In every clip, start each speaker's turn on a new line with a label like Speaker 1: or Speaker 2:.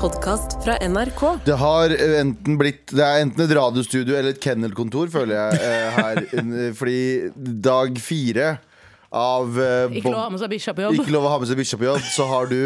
Speaker 1: podkast fra NRK.
Speaker 2: Det har enten blitt Det er enten et radiostudio eller et kennelkontor, føler jeg, eh, her. Fordi dag fire av eh,
Speaker 3: Ikke
Speaker 2: Bob-
Speaker 3: lov å ha med seg bikkja på jobb.
Speaker 2: Ikke lov å ha med seg bikkja på jobb. Så har du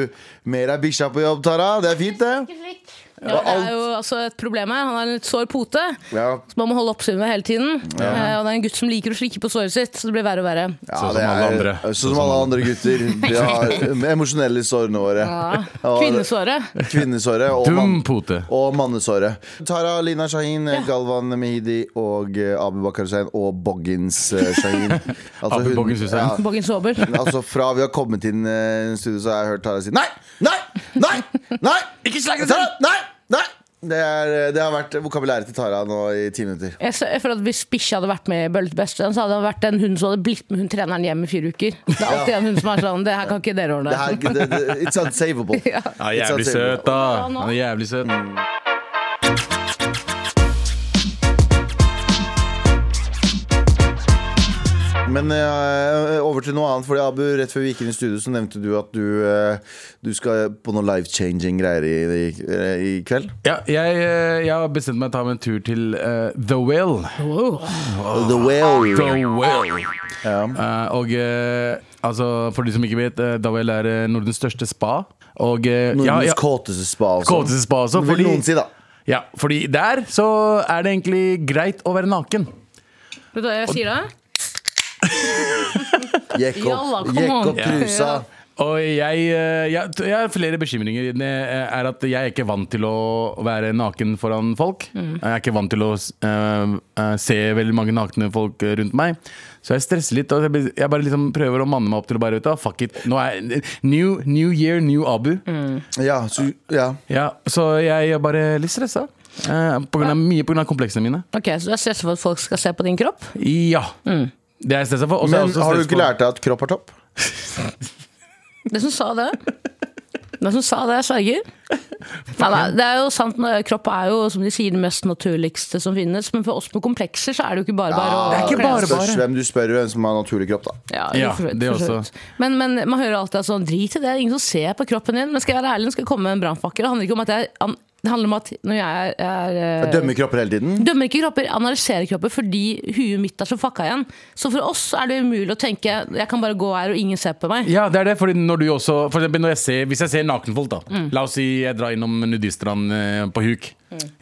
Speaker 2: med deg bikkja på jobb, Tara. Det er fint, det.
Speaker 3: Ja, det
Speaker 2: alt-
Speaker 3: er jo altså et problem her. Han har en litt sår pote,
Speaker 2: Ja,
Speaker 3: så man må holde oppsyn med hele tiden. Eh, og det er en gutt som liker å slikke på såret sitt, så det blir verre og verre.
Speaker 2: ja
Speaker 4: Sånn som
Speaker 2: det
Speaker 4: alle andre.
Speaker 2: er Sånn som alle andre gutter. De har emosjonelle sårene våre.
Speaker 3: Ja.
Speaker 2: Ja, det-
Speaker 3: Kvinnesåret.
Speaker 2: Kvinnesåret og,
Speaker 4: Dum
Speaker 2: mann-
Speaker 4: pote.
Speaker 2: og mannesåret. Tara Lina Shahin, Galvan Mehidi og eh, Abu Bakar Hussein og Boggins eh, Shahin. Altså
Speaker 4: Abu
Speaker 2: hun-
Speaker 4: Boggins Hussein.
Speaker 2: ja.
Speaker 3: Boggen Sober.
Speaker 2: Altså Fra vi har kommet inn eh, i studio, så har jeg hørt Tara si nei, nei, nei! nei Ikke slag det til! Nei! nei det, er, eh, det har vært vokabulæret til Tara nå i ti minutter.
Speaker 3: Jeg ser- jeg føler at Hvis bikkja hadde vært med i Bølle til bestevenn, så hadde det vært den hunden som hadde blitt med hun treneren hjem i fire uker. Det er alltid en hund som er sånn Det her kan ikke dere ordne.
Speaker 2: Det her, det, det, it's unsavable.
Speaker 4: Ja,
Speaker 2: It's
Speaker 4: jævlig
Speaker 2: unsavable.
Speaker 4: søt, da. Han er jævlig søt.
Speaker 2: Men eh, over til noe annet, fordi Abu, rett før vi gikk inn i studio, så nevnte du at du, eh, du skal på noe life-changing-greier i, i, i kveld.
Speaker 4: Ja, jeg, eh, jeg har bestemt meg å ta meg en tur til eh, The Will.
Speaker 3: Wow.
Speaker 2: The Whale.
Speaker 4: The Will.
Speaker 2: Ja.
Speaker 4: Eh, og eh, altså, for de som ikke vet, eh, The Will er eh, Nordens største spa. Og eh,
Speaker 2: Nordens
Speaker 4: ja, ja,
Speaker 2: kåteste spa. altså.
Speaker 4: kåteste spa også.
Speaker 2: Vil noen si, da.
Speaker 4: ja, fordi der så er det egentlig greit å være naken.
Speaker 3: Vet du hva jeg sier da?
Speaker 2: Jekk
Speaker 3: Jalla,
Speaker 2: opp,
Speaker 3: come
Speaker 2: jekk
Speaker 3: on.
Speaker 2: opp trusa.
Speaker 4: Og jeg, eh, jeg, jeg har flere bekymringer. Det eh, er at jeg er ikke vant til å være naken foran folk. Jeg er ikke vant til å eh, eh, se veldig mange nakne folk eh, rundt meg. Så jeg stresser litt. Og jeg blir- jeg bare liksom prøver å manne meg opp til å bare vet du, hva, fuck it. Nå er new, new year, new Abu.
Speaker 2: Ja, så, ja.
Speaker 4: Ja, så jeg er bare litt stressa. Eh, på grunn av, mye pga. kompleksene mine.
Speaker 3: Ok, Så du er stressa for at folk skal se på din kropp?
Speaker 4: Ja. Det er jeg stressa for. og så er jeg
Speaker 2: Men
Speaker 4: også
Speaker 2: har du
Speaker 4: stress
Speaker 2: ikke
Speaker 4: for-
Speaker 2: lært deg at kropp er topp?
Speaker 3: Det som sa det Det som sa det, jeg sverger. Nei, nei, det er jo sant, når- kropp er jo som de sier det mest naturligste som finnes, men for oss med komplekser så er det jo ikke bare bare å
Speaker 4: Det er ikke bare,
Speaker 2: Spørs
Speaker 4: bare.
Speaker 2: hvem du spør hvem som har naturlig kropp, da.
Speaker 3: Ja,
Speaker 4: Ja,
Speaker 3: for så vidt,
Speaker 4: det
Speaker 3: for så
Speaker 4: også.
Speaker 3: vidt. Men, men man hører alltid at sånn, drit i det, det er ingen som ser på kroppen din. Men skal jeg være ærlig, nå skal jeg komme med en brannfakkel. Det handler ikke om at jeg an- Det handler om at når jeg er, er
Speaker 2: Jeg dømmer kropper hele tiden.
Speaker 3: Dømmer ikke kropper, analyserer kropper fordi huet mitt er så fucka igjen. Så for oss er det umulig å tenke jeg kan bare gå her og ingen ser på meg.
Speaker 4: Ja, det er det. Fordi når du også, for eksempel når jeg ser, hvis jeg ser nakenfolk, da.
Speaker 3: Mm.
Speaker 4: La oss si jeg drar innom nudiststrand eh, på huk.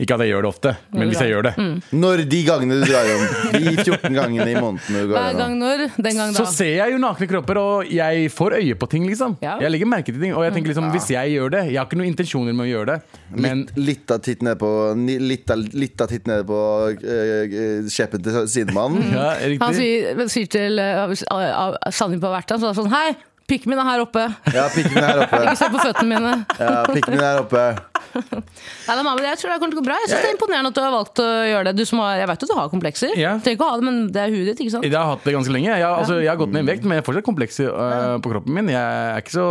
Speaker 4: Ikke at jeg gjør det ofte,
Speaker 3: Mm.
Speaker 4: men hvis jeg gjør det.
Speaker 2: Når de gangene du drar om. De 14 gangene i måneden du går
Speaker 3: Hver gang
Speaker 2: gjennom.
Speaker 3: når, den gang da.
Speaker 4: Så ser jeg jo nakne kropper, og jeg får øye på ting, liksom.
Speaker 3: Ja. Mm.
Speaker 4: Jeg legger merke til ting. Og jeg tenker liksom, hvis jeg gjør det Jeg har ikke noen intensjoner med å gjøre det, men
Speaker 2: Litt av titt nede på, ni- litt av, litt av titt nede på eh, eh, kjeppen til sidemannen.
Speaker 4: ja,
Speaker 3: Han
Speaker 4: riktig.
Speaker 3: sier, sier til eh, hvis- av- av- Sandeep på hvert han, så er det sånn Hei, pikken min er her oppe.
Speaker 2: Ja, pikken er her oppe.
Speaker 3: Ikke se på føttene mine.
Speaker 2: Ja, pikken min er oppe.
Speaker 3: Nei, da, mamma, jeg tror det kommer til å gå bra. Jeg synes Det er imponerende at du har valgt å gjøre det. Du som har, jeg vet at du har komplekser.
Speaker 4: Ja.
Speaker 3: Du trenger ikke å ha det, men det er huet ditt, ikke sant?
Speaker 4: Jeg har hatt det ganske lenge. Jeg, altså, jeg har gått ned i vekt, men jeg har fortsatt komplekser øh, på kroppen min. Jeg er ikke så,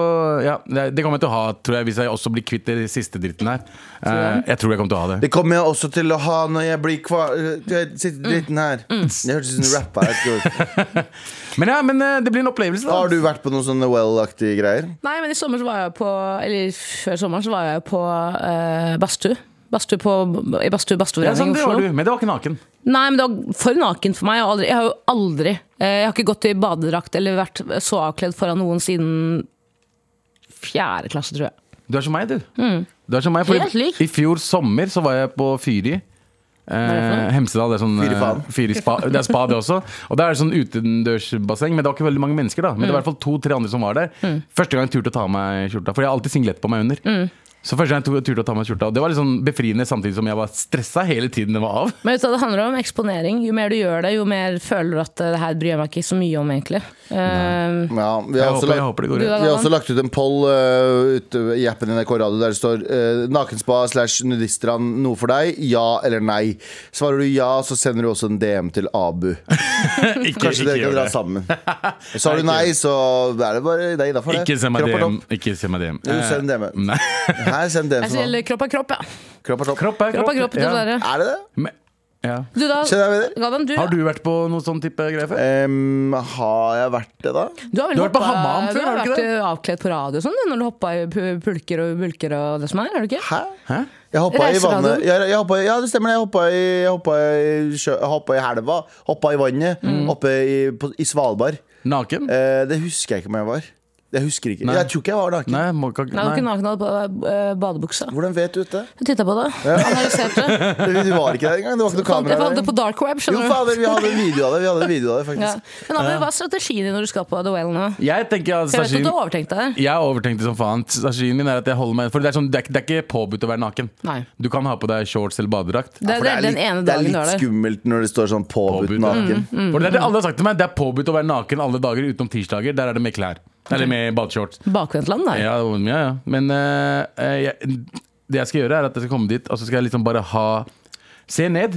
Speaker 4: ja, det det kommer jeg til å ha, tror jeg, hvis jeg også blir kvitt den siste dritten her. Eh, jeg tror jeg kommer til å ha det.
Speaker 2: Det kommer jeg også til å ha når jeg blir kvar... Jeg sitter dritten her. Det hørtes ut som rappa.
Speaker 4: Men ja, men eh, det blir en opplevelse, da.
Speaker 2: Har du vært på noen sånne well-aktige greier?
Speaker 3: Nei, men i sommer så var jeg på Eller før sommeren så var jeg på eh, badstue. Badstue på I badstue
Speaker 4: Ja,
Speaker 3: badstueforening
Speaker 4: sånn,
Speaker 3: i
Speaker 4: det var
Speaker 3: Oslo.
Speaker 4: du, men det var ikke naken.
Speaker 3: Nei, men det var for nakent for meg. Jeg har, aldri, jeg har jo aldri eh, Jeg har ikke gått i badedrakt eller vært så avkledd foran noen siden fjerde klasse, tror jeg.
Speaker 4: Du er som meg, du. Du er som meg, fordi
Speaker 3: Helt Mm. lik.
Speaker 4: I fjor sommer så var jeg på Fyri. Eh, Hemsedal. Det er sånn eh,
Speaker 2: Fyrifaen.
Speaker 4: Fyri spa, det er spa, det også. Og der er det sånn utendørsbasseng, men det var ikke veldig mange mennesker. da Men det var i hvert fall to-tre andre som var der.
Speaker 3: Mm.
Speaker 4: Første gang jeg turte å ta av meg skjorta, for jeg har alltid singlet på meg under.
Speaker 3: Mm.
Speaker 4: Så første gang jeg turte å ta av meg skjorta Og Det var litt sånn befriende, samtidig som jeg var stressa hele tiden den var av.
Speaker 3: Men vet du, hva, det handler om eksponering. Jo mer du gjør det, jo mer føler du at eh, det her bryr jeg meg ikke så mye om, egentlig. Eh,
Speaker 2: Ja, vi
Speaker 4: Jeg
Speaker 2: har også
Speaker 4: håper, jeg
Speaker 2: lagt,
Speaker 4: håper det går
Speaker 3: Du
Speaker 4: rett.
Speaker 3: da?
Speaker 2: vi har også lagt ut en poll eh, ute i appen NRK Radio der det står eh, 'Nakenspa slash nudiststrand noe for deg? Ja eller nei?' Svarer du ja, så sender du også en DM til Abu.
Speaker 4: Ikke,
Speaker 2: Kanskje
Speaker 4: ikke
Speaker 2: dere kan
Speaker 4: gjør
Speaker 2: dra
Speaker 4: det.
Speaker 2: sammen. Svarer du nei, så er det bare deg innafor det.
Speaker 4: Ikke send meg
Speaker 2: Kropp er
Speaker 4: DM.
Speaker 2: topp.
Speaker 4: Ikke send meg DM.
Speaker 2: Jo, send DM.
Speaker 4: Nei.
Speaker 2: Her, send DM
Speaker 3: jeg
Speaker 2: til
Speaker 3: sier
Speaker 2: meg.
Speaker 3: kropp er kropp, ja.
Speaker 2: Kropp er topp.
Speaker 4: Kropp er
Speaker 3: Kropp er kropp,
Speaker 4: ja.
Speaker 3: dessverre.
Speaker 2: Er det det?
Speaker 4: Men, Ja.
Speaker 3: Du da,
Speaker 2: Kjenner jeg med det?
Speaker 3: Galvan, du,
Speaker 4: Har du vært på noen sånn type greier før?
Speaker 2: Em, har jeg vært det, da?
Speaker 3: du har vel
Speaker 4: du har vært på
Speaker 3: hoppa-
Speaker 4: Hammam
Speaker 3: Du
Speaker 4: før,
Speaker 3: har
Speaker 4: har du ikke
Speaker 3: vært eh, avkledd på radio og sånn, når du hoppa i pu- pulker og bulker og det som er, har du ikke?
Speaker 2: Hæ?
Speaker 4: Hæ?
Speaker 2: Jeg hoppa i
Speaker 3: Reiseradioen.
Speaker 2: vannet. Jeg, jeg hoppa, i- ja, det stemmer. det. Jeg hoppa i, jeg hoppa i, sjø, jeg hoppa i helva. Hoppa i vannet.
Speaker 3: Mm.
Speaker 2: Oppe i, på, i Svalbard.
Speaker 4: Naken?
Speaker 2: Eh, det husker jeg ikke om jeg var. Jeg husker ikke.
Speaker 4: Nei.
Speaker 2: Jeg tror ikke jeg var naken.
Speaker 4: Nei, må ikke
Speaker 3: Nei, du var ikke
Speaker 4: nei.
Speaker 3: naken hadde på eh, badebuksa.
Speaker 2: Hvordan vet du det?
Speaker 3: Jeg titta på det. Analyserte.
Speaker 2: Du var ikke der engang. Det var ikke noe
Speaker 3: Fant, jeg
Speaker 2: kamera
Speaker 3: fant det
Speaker 2: der.
Speaker 3: på dark web,
Speaker 2: Jo,
Speaker 3: skjønner du.
Speaker 2: fader, vi hadde en video av det. Vi hadde en video av det
Speaker 3: Ja.
Speaker 2: faktisk
Speaker 3: Men Abel, hva er strategien din når du skal på The Whale nå?
Speaker 4: Jeg tenker
Speaker 3: Jeg
Speaker 4: at
Speaker 3: vet at
Speaker 4: sashimi
Speaker 3: du har overtenkt deg der.
Speaker 4: Jeg har overtenkt det som faen. Strategien min er at jeg holder meg For det er, sånn, det er, ikke- det er ikke påbudt å være naken.
Speaker 3: Nei.
Speaker 4: Du kan ha på deg shorts eller badedrakt.
Speaker 3: Det,
Speaker 2: For
Speaker 3: det er den
Speaker 2: litt-
Speaker 3: ene
Speaker 2: det er
Speaker 3: dagen du
Speaker 2: litt
Speaker 3: er der.
Speaker 2: skummelt når det står sånn påbudt
Speaker 4: Påbudt, ja. Mm.
Speaker 2: naken.
Speaker 3: Mm,
Speaker 4: For det er det alle har sagt til meg, det er påbudt å være naken alle dager utenom tirsdager. Der er det med klær. Eller med badeshorts.
Speaker 3: Bakvendtland, da.
Speaker 4: Ja, ja, ja. Men eh, eh, jeg, det jeg skal gjøre, er at jeg skal komme dit, og så skal jeg liksom bare ha Se ned.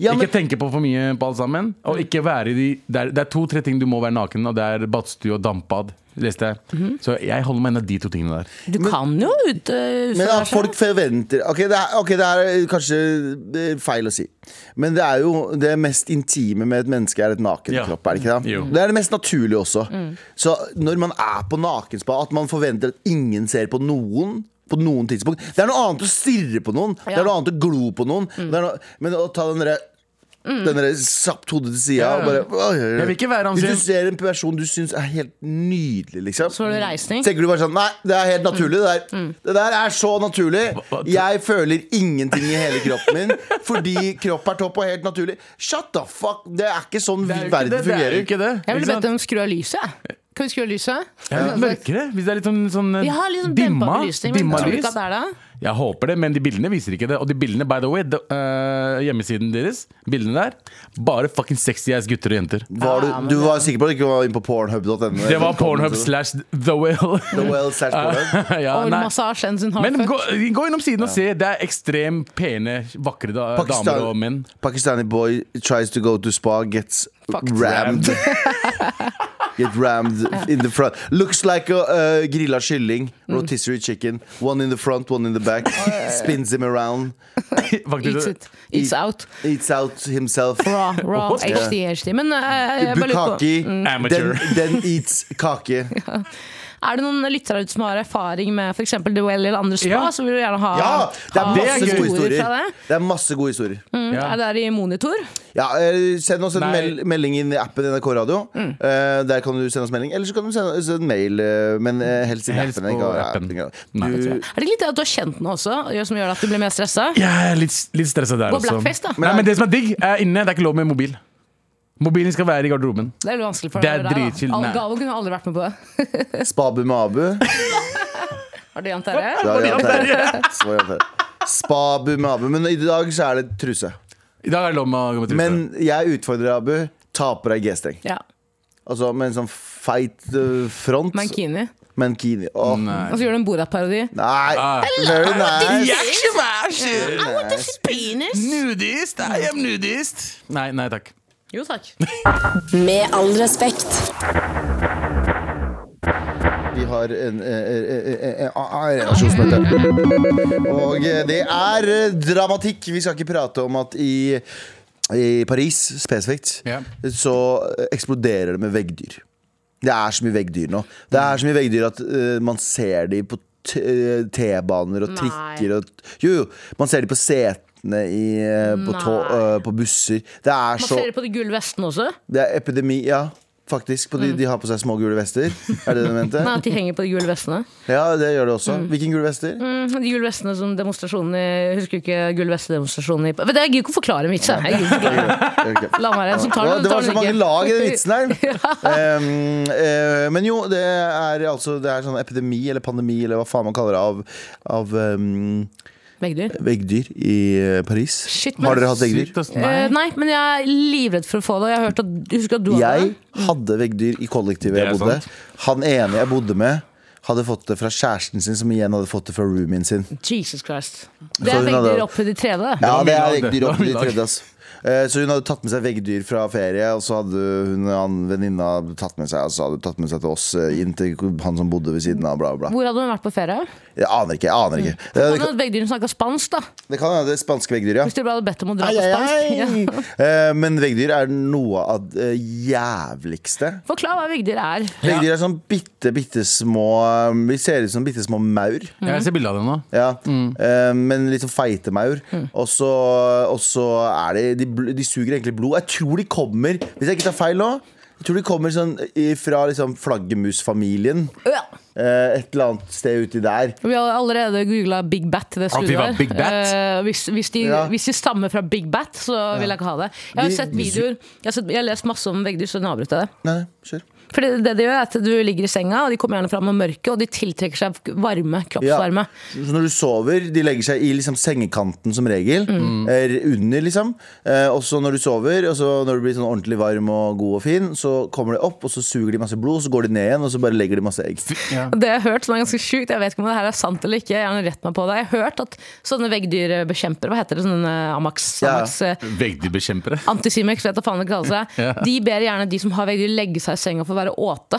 Speaker 2: Ja, men,
Speaker 4: ikke tenke på for mye på alt sammen. Og ikke være i de Det er, det er to-tre ting du må være naken, og det er badstue og dampbad. Leste jeg.
Speaker 3: Mhm.
Speaker 4: Så jeg holder meg unna de to tingene der.
Speaker 3: Du kan jo ut eh,
Speaker 2: men at
Speaker 3: utføre
Speaker 2: folk
Speaker 3: seg.
Speaker 2: forventer Ok, det er, ok, det er kanskje eh, feil å si. Men det er jo det mest intime med et menneske er et naken
Speaker 4: Ja.
Speaker 2: kropp. Er det ikke det?
Speaker 4: Jo.
Speaker 2: Det er det mest naturlige også.
Speaker 3: Mm.
Speaker 2: Så når man er på nakenspa, at man forventer at ingen ser på noen på noen tidspunkt Det er noe annet å stirre på noen. Det
Speaker 3: Ja. Mm.
Speaker 2: er noe annet å glo på noen. Det er noe, men å ta den derre Den derre sapt hodet til sida og bare oi, oi, oi.
Speaker 4: Jeg vil ikke være
Speaker 2: Hvis du
Speaker 4: ansikt-
Speaker 2: ser en person du syns er helt nydelig, liksom.
Speaker 3: Så har du reisning.
Speaker 2: Så tenker du bare sånn Nei, det er helt naturlig. Det der, det der er så naturlig.
Speaker 4: hva-
Speaker 2: Jeg føler ingenting i hele kroppen min fordi kropp er topp og helt naturlig. Shut the fuck! Det er ikke sånn
Speaker 4: Det er jo ikke
Speaker 2: verden
Speaker 4: det, det er jo
Speaker 2: fungerer.
Speaker 4: ikke det.
Speaker 3: Jeg
Speaker 4: ikke
Speaker 3: ville
Speaker 4: sant?
Speaker 3: bedt dem skru av lyset. jeg. Kan vi skru av lyset?
Speaker 4: Ja, litt mørkere, hvis det er litt sånn, sånn eh,
Speaker 3: altså, Vi har liksom dempa
Speaker 4: dimma,
Speaker 3: belysning. Men
Speaker 4: dimma
Speaker 3: tror du
Speaker 4: lys.
Speaker 3: ikke at det er det?
Speaker 4: Jeg håper det, men de bildene viser ikke det. Og de bildene, by the way, de, eh, hjemmesiden deres, bildene der, bare fucking sexy ass gutter og jenter.
Speaker 2: Var du, du var sikker på at du ikke var inne på pornhub.no?
Speaker 4: Det var pornhub slash sånn the whale.
Speaker 2: The Well slash pornhub.
Speaker 4: ja, nei.
Speaker 3: Oilmassasje and sin
Speaker 4: Men
Speaker 3: hardfuck.
Speaker 4: gå, gå innom siden og se. Det er ekstremt pene, vakre da, damer og menn.
Speaker 2: Pakistan, Pakistani boy tries to go to spa, gets
Speaker 3: Fucked.
Speaker 2: rammed. Get rammed in the front. Looks like a uh, grilla kylling. Rotisserie chicken. One in the front, one in the back. Spins him around.
Speaker 3: Eats
Speaker 4: Faktisk,
Speaker 3: it. Eats out.
Speaker 2: Eats out himself.
Speaker 3: Raw, raw,
Speaker 4: What?
Speaker 3: HD, HD. Men eh, jeg bare lurer på
Speaker 2: Bukaki. Den,
Speaker 4: Amateur.
Speaker 2: den eats kake.
Speaker 3: Er det noen lyttere ute som har erfaring med f.eks. The Well eller andre spa,
Speaker 4: Ja.
Speaker 3: så vil du gjerne ha,
Speaker 2: Ja! Det er
Speaker 3: ha
Speaker 4: det er
Speaker 2: masse
Speaker 4: gøy.
Speaker 2: gode
Speaker 3: historier Ah,
Speaker 2: historier.
Speaker 3: fra det?
Speaker 2: Det er masse gode historier.
Speaker 3: Mm,
Speaker 4: Ja.
Speaker 3: Er det der i monitor?
Speaker 2: Ja, eh, Send oss en
Speaker 4: Nei.
Speaker 2: mel melding inn i appen NRK Radio.
Speaker 3: Mm.
Speaker 2: Eh, der kan du sende oss melding. Eller så kan du sende oss en mail, eh, men eh, helst i
Speaker 4: Helst
Speaker 2: appen.
Speaker 4: på
Speaker 2: ikke av
Speaker 4: appen.
Speaker 2: Du,
Speaker 4: Nei, det tror jeg.
Speaker 3: Er det ikke litt det at du har kjent noe også, gjør- som gjør at du blir mer stressa?
Speaker 4: Jeg er litt, litt stressa der
Speaker 3: Gå
Speaker 4: også.
Speaker 3: blackface, da.
Speaker 4: Nei, men det som er digg, er inne. Det er ikke lov med mobil. Mobilen skal være i garderoben.
Speaker 3: Det er litt vanskelig for
Speaker 4: Det er
Speaker 3: deg, da.
Speaker 4: dritchill,
Speaker 3: Al-
Speaker 4: nei.
Speaker 3: Gavo kunne aldri vært med på det.
Speaker 2: Spabu med Abu.
Speaker 3: Har du Jan Terje?
Speaker 2: Da er Jan Terje. Så var Jan Terje. Spabu med Abu. Men i dag så er det truse.
Speaker 4: I dag er det lov med å gå med truse.
Speaker 2: Men jeg utfordrer Abu. Ta på deg G-streng.
Speaker 3: Ja.
Speaker 2: Altså med en sånn feit eh, front.
Speaker 3: Mankini.
Speaker 2: Mankini. Åh.
Speaker 4: Nei.
Speaker 3: Og så gjør du en Borat-parodi.
Speaker 2: Nei.
Speaker 4: Ah.
Speaker 2: Very nice.
Speaker 4: Nudist? I am nudist. Nei, nei takk.
Speaker 3: Jo takk.
Speaker 1: Med all respekt.
Speaker 2: Vi har en eh, eh, eh, eh, ah, relasjonsmøte. Og eh, det er eh, dramatikk. Vi skal ikke prate om at i, i Paris spesifikt
Speaker 4: Ja.
Speaker 2: så eh, eksploderer det med veggdyr. Det er så mye veggdyr nå. Det er så mye veggdyr at eh, man ser de på t- eh, T-baner og
Speaker 3: Nei.
Speaker 2: trikker og Jo, jo. Man ser de på setene i, eh, på, tå-
Speaker 3: Nei.
Speaker 2: eh, på busser. Det er
Speaker 3: Man
Speaker 2: så
Speaker 3: ser det på de gull vestene også.
Speaker 2: Det er epidemi, ja. Faktisk. På de, de har på seg små gule vester. Er det det du mente?
Speaker 3: Mm. Nei, at de henger på de gull vestene.
Speaker 2: Ja, det gjør det også. Hvilken gule vester?
Speaker 3: Mm, De gull vestene som demonstrasjonen i Jeg husker ikke gull vest-demonstrasjonen i Vet du, Jeg gidder ikke å forklare en vits. jeg. Jeg gidder ikke å forklare.
Speaker 2: Ok.
Speaker 3: La meg være en som tar
Speaker 2: Å,
Speaker 3: den.
Speaker 2: det var så
Speaker 3: tar den
Speaker 2: mange
Speaker 3: ikke.
Speaker 2: lag i den vitsen her. Ehm, eh, men jo, det er altså Det er sånn epidemi eller pandemi eller hva faen man kaller det, av, av ehm,
Speaker 3: Veggdyr.
Speaker 2: veggdyr i eh, Paris.
Speaker 3: Shit, men-
Speaker 2: har dere hatt veggdyr?
Speaker 4: Sykt, ass.
Speaker 3: Eh,
Speaker 4: Nei.
Speaker 3: nei, men jeg er livredd for å få det. Og jeg har hørt at, jeg husker at du hadde
Speaker 2: Jeg
Speaker 3: det. Mm.
Speaker 2: hadde veggdyr i kollektivet
Speaker 4: Det er
Speaker 2: jeg bodde.
Speaker 4: sant.
Speaker 2: Han ene jeg bodde med, hadde fått det fra kjæresten sin, som igjen hadde fått det fra roomien sin.
Speaker 3: Jesus Christ.
Speaker 2: Så
Speaker 3: Det er
Speaker 2: hun hadde-
Speaker 3: veggdyr opp i de tredje.
Speaker 2: Ja,
Speaker 4: var
Speaker 2: det
Speaker 4: mye
Speaker 2: er
Speaker 4: lag, det.
Speaker 2: veggdyr
Speaker 4: Det var
Speaker 2: opp i
Speaker 4: mye
Speaker 2: de
Speaker 4: lag.
Speaker 2: tredje, ass. Eh, Så hun hadde tatt med seg veggdyr fra ferie, og så hadde hun han venninna tatt med seg, og så hadde hun tatt med seg til oss eh, inn til han som bodde ved siden av, bla, bla. bla.
Speaker 3: Hvor hadde hun vært på ferie?
Speaker 2: Jeg aner ikke. jeg aner
Speaker 4: Mm.
Speaker 2: ikke Eh,
Speaker 3: Kan
Speaker 2: Det
Speaker 3: hende
Speaker 2: kan-
Speaker 3: at veggdyrene snakka spansk, da.
Speaker 2: Det kan hende det er spanske veggdyr, ja.
Speaker 3: Hvis de ble bedt om å dra
Speaker 2: Ai,
Speaker 3: på
Speaker 2: ai,
Speaker 3: spansk. Ja.
Speaker 2: ai. Eh, Men veggdyr er noe av det jævligste.
Speaker 3: Forklar hva veggdyr er.
Speaker 2: Veggdyr er sånn bitte, bitte små eh, Vi ser ut som bitte små maur.
Speaker 4: Jeg ser bilde av det nå.
Speaker 2: Ja, eh, men litt sånn feite maur. Og så og så er det de, bl- de suger egentlig blod. Jeg tror de kommer, hvis jeg ikke tar feil nå Jeg tror de kommer sånn i- fra liksom flaggermusfamilien.
Speaker 3: Ja.
Speaker 2: Eh, Et eller annet sted uti der.
Speaker 3: Vi har allerede googla Big Bat. i Det
Speaker 4: At vi
Speaker 3: studioet
Speaker 4: var
Speaker 3: her.
Speaker 4: Big Bat?
Speaker 3: Eh, hvis, hvis, de,
Speaker 2: Ja.
Speaker 3: hvis de stammer fra Big Bat, så vil jeg ikke ha det. Jeg har
Speaker 2: Vi-
Speaker 3: sett videoer Jeg har, sett, jeg har lest masse om veggdyr, så nå avbryter jeg det.
Speaker 2: Nei, nei, kjør.
Speaker 3: For det, det de gjør er at Du ligger i senga, og de kommer gjerne fram med mørket, og de tiltrekker seg varme, kroppsvarme.
Speaker 2: Så når du sover, de legger seg i liksom sengekanten som regel. Mm. Er under, liksom. Eh, og så når du sover, og så når du blir sånn ordentlig varm og god og fin, så kommer de opp, og så suger de masse blod, så går de ned igjen, og så bare legger de masse egg.
Speaker 4: Ja.
Speaker 3: Det jeg har hørt, som er ganske sjukt, jeg vet ikke om det her er sant eller ikke, jeg har rett meg på det. Jeg har hørt at sånne veggdyrbekjempere, hva heter det, sånne Amax,
Speaker 2: Ja.
Speaker 3: Amax eh,
Speaker 4: Veggdyrbekjempere.
Speaker 3: Antisimex, vet jeg faen hva det kaller seg.
Speaker 4: Ja.
Speaker 3: De ber gjerne de som har veggdyr, legge seg i senga for å være åte.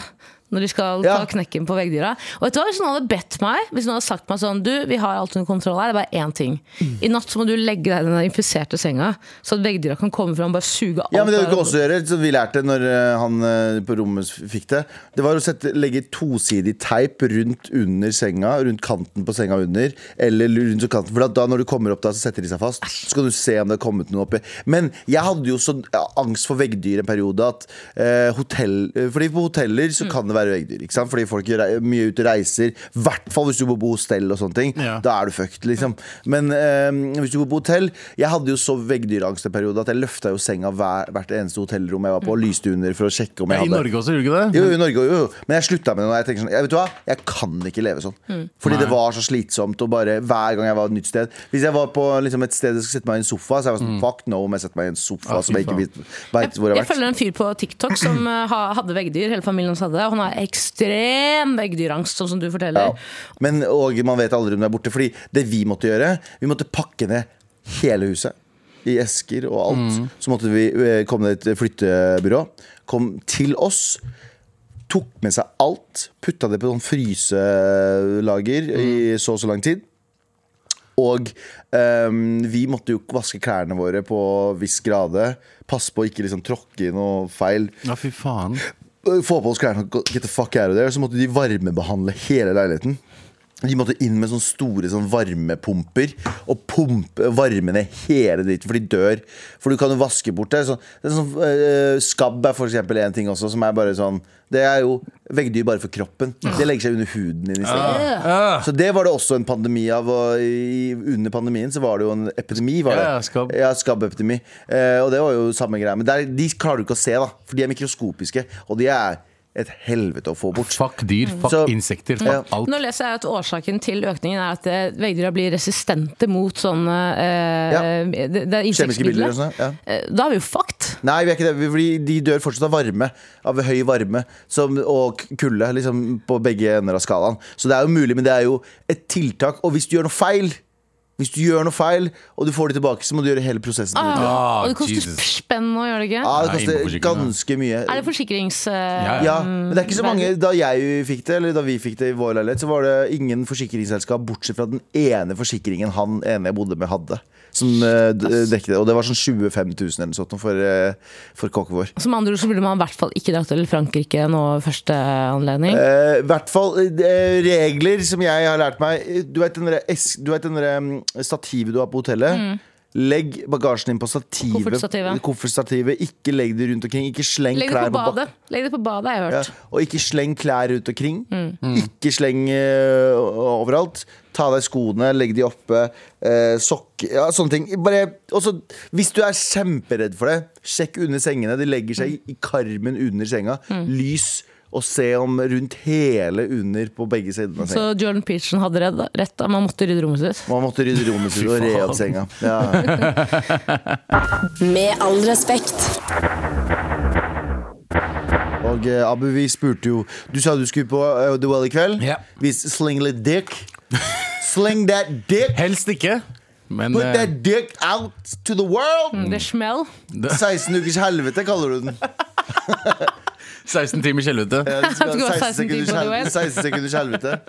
Speaker 3: Når de skal
Speaker 2: Ja.
Speaker 3: ta knekken på veggdyra. Og vet du hva, Hvis noen hadde bedt meg Hvis noen hadde sagt meg sånn Du, vi har alt under kontroll her, det er bare én ting.
Speaker 2: Mm.
Speaker 3: I natt så må du legge deg i den der infiserte senga, så at veggdyra kan komme fram og bare suge alt.
Speaker 2: Ja, men det
Speaker 3: der-
Speaker 2: du kan også gjøre, som vi lærte når eh, han eh, på rommet f- fikk det, det var å sette, legge tosidig teip rundt under senga, rundt kanten på senga under, eller rundt så kanten, for da- da når du kommer opp da, så setter de seg fast, så kan du se om det har kommet noe oppi. Men jeg hadde jo sånn ja, angst for veggdyr en periode at eh, hotell, eh, fordi på hoteller så kan det være veggdyr, ikke sant? Fordi folk er rei- mye ute og reiser, hvertfall hvis du bor på hostell og sånne ting,
Speaker 4: Ja.
Speaker 2: da er du fucked, liksom. Men eh, hvis du bor på hotell Jeg hadde jo så veggdyrangst en periode at jeg løfta jo senga hver, hvert eneste hotellrom jeg var på, og lyste under for å sjekke om jeg
Speaker 4: I
Speaker 2: hadde
Speaker 4: Norge også, gjorde du ikke det?
Speaker 2: jo, jo, i Norge, jo, jo. Men jeg slutta med det. når Jeg tenker sånn, jeg, vet du hva? jeg kan ikke leve sånn. Fordi det var så slitsomt. Og bare hver gang jeg var et nytt sted Hvis jeg var på liksom, et sted jeg skulle sette meg i en sofa, så jeg var sånn fuck no om jeg setter meg i en sofa
Speaker 4: Ja, Mm. Ah, fy
Speaker 2: som jeg ikke
Speaker 4: faen.
Speaker 2: vet vet hvor jeg har
Speaker 3: Jeg
Speaker 2: vært.
Speaker 3: følger en fyr på TikTok som eh, ha- hadde veggdyr. Hele familien hans hadde det. Og han har ekstrem veggdyrangst, sånn som du forteller.
Speaker 2: Ja. Men, og man vet aldri om det er borte. Fordi det vi måtte gjøre, vi måtte pakke ned hele huset. I esker og alt. Så måtte vi eh, komme til et flyttebyrå. Kom til oss. Tok med seg alt. Putta det på sånn fryselager i så og så lang tid. Og ehm, vi måtte jo vaske klærne våre på viss grade. Passe på å ikke liksom tråkke i noe feil.
Speaker 4: Ja, fy faen.
Speaker 2: øh, Få på oss klærne og get the fuck out of there. Så måtte de varmebehandle hele leiligheten. De måtte inn med sånne store sånn varmepumper og pumpe varme ned hele dritten, for de dør. For du kan jo vaske bort det. Så, det er sånn, eh, skabb er for eksempel en ting også, som er bare sånn Det er jo veggdyr bare for kroppen. Det legger seg under huden din i stedet.
Speaker 4: Ah.
Speaker 2: Så det var det også en pandemi av. Og i, under pandemien så var det jo en epidemi. Var det.
Speaker 4: Ja, ja, skabb.
Speaker 2: Ja, skabbepidemi. Eh, og det var jo samme greia. Men der, de klarer du ikke å se, da. For de er mikroskopiske. Og de er et helvete å få bort.
Speaker 4: Fuck dyr, fuck
Speaker 2: Så-
Speaker 4: insekter,
Speaker 2: Ja.
Speaker 4: fuck alt.
Speaker 3: Nå leser jeg at årsaken til økningen er at eh, veggdyra blir resistente mot sånne eh,
Speaker 2: Ja.
Speaker 3: det, det er
Speaker 2: Kjemiske bilder og
Speaker 3: insektmidler.
Speaker 2: sånn. Ja.
Speaker 3: Eh, Da er vi jo fucked.
Speaker 2: Nei, vi er ikke det. Vi- Fordi de dør fortsatt av varme. Av høy varme som, og k- kulde. Liksom på begge ender av skalaen. Så det er jo mulig, men det er jo et tiltak. Og hvis du gjør noe feil, hvis du gjør noe feil og du får det tilbake, så må du gjøre hele prosessen. på nytt.
Speaker 4: Ah,
Speaker 3: og det koster
Speaker 4: Jesus.
Speaker 3: spenn å gjøre det ikke?
Speaker 2: Ja, det
Speaker 4: Nei,
Speaker 2: koster
Speaker 4: innenfor sykkeln,
Speaker 2: ganske mye.
Speaker 3: Er det forsikrings... eh,
Speaker 4: Ja,
Speaker 2: Ja, men det er ikke så mange Da jeg fikk det, eller da vi fikk det i vår leilighet, så var det ingen forsikringsselskap bortsett fra den ene forsikringen han ene jeg bodde med, hadde. Som eh, d- dekket det. Og det var sånn 25 000 eller noe sånt for, eh, for kokken vår.
Speaker 3: Som andre ord så burde man i hvert fall ikke dratt til Frankrike nå første anledning.
Speaker 2: Eh, I hvert fall eh, regler som jeg har lært meg. Du vet den derre es- du vet den derre, mm, stativet du har på hotellet? Legg bagasjen din på stativet.
Speaker 3: Mm. Koffertstativet.
Speaker 2: Koffertstativet. Ikke legg det rundt omkring. Ikke sleng
Speaker 3: Legg det
Speaker 2: klær
Speaker 3: på
Speaker 2: på bakken.
Speaker 3: badet, Legg det på badet, har jeg
Speaker 2: Ja,
Speaker 3: hørt.
Speaker 2: og ikke sleng klær rundt omkring. Ikke sleng eh, overalt. Ta av deg skoene, legg de oppe. Uh, sokk Ja, sånne ting. Bare, også, hvis du er kjemperedd for det, sjekk under sengene. De legger seg i karmen under senga. Lys. Og se om rundt hele under på begge sidene av
Speaker 3: Så
Speaker 2: senga.
Speaker 3: Jordan Peterson hadde redd- rett, da. man måtte rydde rommet sitt.
Speaker 2: Man måtte rydde rommet sitt og re opp
Speaker 4: Fy
Speaker 2: senga. Ja.
Speaker 1: Med all respekt.
Speaker 2: Og eh, Abu, vi spurte jo Du sa du skulle på eh, The Well i kveld.
Speaker 4: Ja.
Speaker 2: Vi sling litt dick. Sling that dick!
Speaker 4: Helst ikke. Men
Speaker 2: Put
Speaker 4: eh,
Speaker 2: that dick out to the
Speaker 4: Mm.
Speaker 2: world!
Speaker 3: The smell.
Speaker 2: 16 ukers helvete, kaller du den.
Speaker 4: 16 timers helvete.
Speaker 2: Ja, det skal-
Speaker 3: Det går
Speaker 2: 16
Speaker 3: 16 timer,
Speaker 2: sekunders
Speaker 3: du
Speaker 2: hel-
Speaker 3: vet.
Speaker 2: 16 sekunders helvete.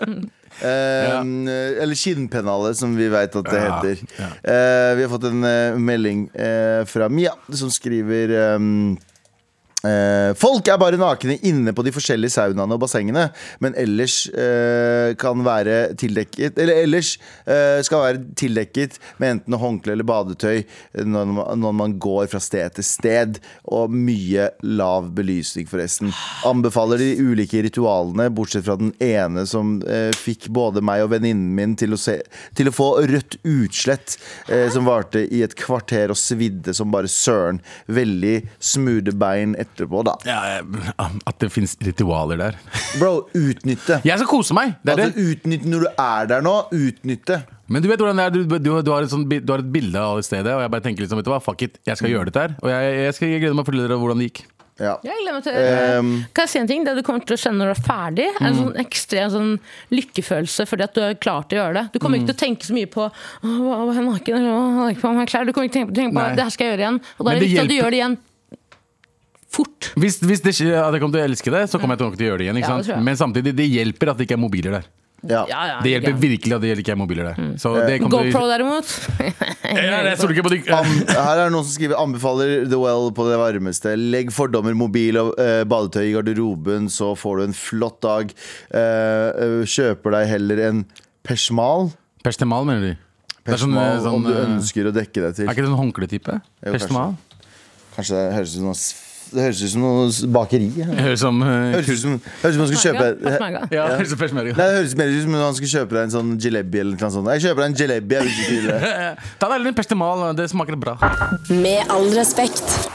Speaker 2: Um, Eller kinnpennale, som vi veit at det
Speaker 4: Ja,
Speaker 2: heter.
Speaker 4: ja.
Speaker 2: Eh, vi har fått en eh, melding eh, fra Mia, som skriver um, Eh, folk er bare nakne inne på de forskjellige saunaene og bassengene, men ellers eh, kan være tildekket Eller ellers eh, skal være tildekket med enten håndkle eller badetøy når man, når man går fra sted til sted. Og mye lav belysning, forresten. Anbefaler de ulike ritualene, bortsett fra den ene som eh, fikk både meg og venninnen min til å, se, til å få rødt utslett, eh, som varte i et kvarter og svidde som bare søren. Veldig smoothe bein etterpå, da.
Speaker 4: Ja, eh, at det fins ritualer der.
Speaker 2: Bro, utnytte.
Speaker 4: Jeg skal kose meg! Det er det.
Speaker 2: Altså, utnytte når du er der nå. Utnytte.
Speaker 4: Men du vet hvordan det er, du, du, du, har, et sånt, bi- du har et bilde av det stedet, og jeg bare tenker liksom, vet du hva, fuck it, jeg skal gjøre dette her. Og jeg, jeg skal glede meg til å fortelle dere hvordan det gikk.
Speaker 2: Ja.
Speaker 3: Jeg gleder meg til
Speaker 2: Ehm.
Speaker 3: Kan jeg si en ting? Det du kommer til å kjenne når du er ferdig, er
Speaker 4: Mm.
Speaker 3: en sånn ekstrem sånn lykkefølelse fordi at du har klart å gjøre det. Du kommer
Speaker 4: Mm.
Speaker 3: ikke til å tenke så mye på «Åh, hva hva er jeg naken, Åh, hva har jeg på meg klær. Du kommer ikke til å tenke- tenke på
Speaker 4: Nei.
Speaker 3: det her skal jeg gjøre igjen. Og da er
Speaker 4: Men
Speaker 3: det
Speaker 4: det
Speaker 3: viktig at du
Speaker 4: hjelper-
Speaker 3: gjør det igjen fort.
Speaker 4: Hvis, hvis det, skjer at jeg kommer til å elske det, så kommer jeg nok til å gjøre det igjen.
Speaker 3: Ja,
Speaker 4: Ikke
Speaker 3: det
Speaker 4: sant?
Speaker 3: tror jeg.
Speaker 4: Men samtidig, det hjelper at det ikke er mobiler der.
Speaker 2: Ja. Mm.
Speaker 3: Ja, ja,
Speaker 4: Det hjelper
Speaker 3: ikke.
Speaker 4: virkelig at det ikke er mobiler der. Så det kommer til
Speaker 3: GoPro
Speaker 4: å...
Speaker 3: derimot
Speaker 4: Ja, jeg stoler ikke på de...
Speaker 2: Am, her er det noen som skriver anbefaler The Well på det varmeste. Legg fordommer, mobil og eh, badetøy i garderoben, så får du en flott dag. Eh, eh, kjøper deg heller en persmal,
Speaker 4: Pestemal, mener de. Det er sånn,
Speaker 2: persmal
Speaker 4: eh, sånn,
Speaker 2: om du
Speaker 4: eh,
Speaker 2: ønsker å dekke deg til.
Speaker 4: Er ikke det sånn håndkletype?
Speaker 2: kanskje.
Speaker 4: Pestemal?
Speaker 2: Kanskje det høres ut som noe, s- det høres ut som noe s- bakeri. ja.
Speaker 4: Høres som... eh,
Speaker 2: Høres ut som, høres ut som man skal kjøpe
Speaker 3: Pass meg, da.
Speaker 4: Ja, høres som persmelga.
Speaker 2: Nei, Det høres mer ut som om han skulle kjøpe deg en sånn jalebi eller noe sånt. Jeg kjøper deg en jalebi, jeg vil ikke si det.
Speaker 4: Ta deg heller en pestemal, det smaker bra.
Speaker 1: Med all respekt.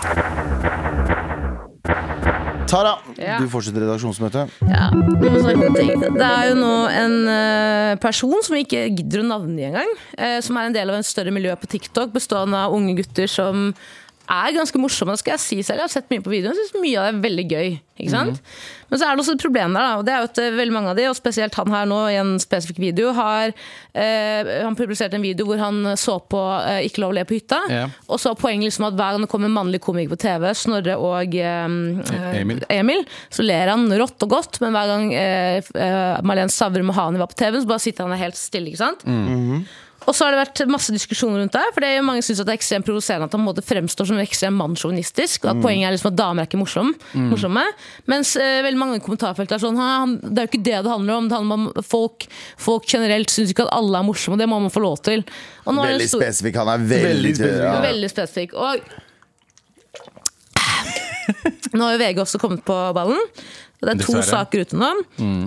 Speaker 2: Tara,
Speaker 3: Ja.
Speaker 2: du fortsetter redaksjonsmøtet.
Speaker 3: Ja, vi må snakke om ting. Det er jo nå en eh, person som vi ikke gidder å navngi engang, eh, som er en del av en større miljø på TikTok bestående av unge gutter som er ganske morsomme. Det skal Jeg si selv, jeg har sett mye på videoen og syns mye av det er veldig gøy. Ikke sant? Men så er det også et problem der, da, og det er jo at eh, veldig mange av de, og spesielt han her nå i en spesifikk video, har eh, han publisert en video hvor han så på eh, Ikke lov å le på hytta.
Speaker 4: Ja.
Speaker 3: Og så er poenget liksom at hver gang det kommer en mannlig komiker på TV, Snorre og eh,
Speaker 4: E- Emil.
Speaker 3: Emil, så ler han rått og godt, men hver gang eh, eh, Malene Stavrum og Hani var på TV, så bare sitter han der helt stille. ikke sant? Og så har det vært masse diskusjoner rundt det, for det er jo mange synes at det er ekstremt provoserende at han på en måte fremstår som ekstremt mannssjåvinistisk, og at poenget er liksom at damer er ikke morsom, morsomme. Mens eh, veldig mange i kommentarfeltet er sånn, «Hæ, han- det er jo ikke det det handler om, det handler om at folk, folk generelt synes ikke at alle er morsomme, og det må man få lov til. Og nå er det
Speaker 2: Veldig
Speaker 3: stor-
Speaker 2: spesifikk. Han er veldig,
Speaker 4: Veldig spesifikk.
Speaker 2: Ja.
Speaker 3: Veldig spesifikk. Og nå har jo VG også kommet på ballen. Det er to
Speaker 4: Dessverre. Mm.
Speaker 3: saker ute nå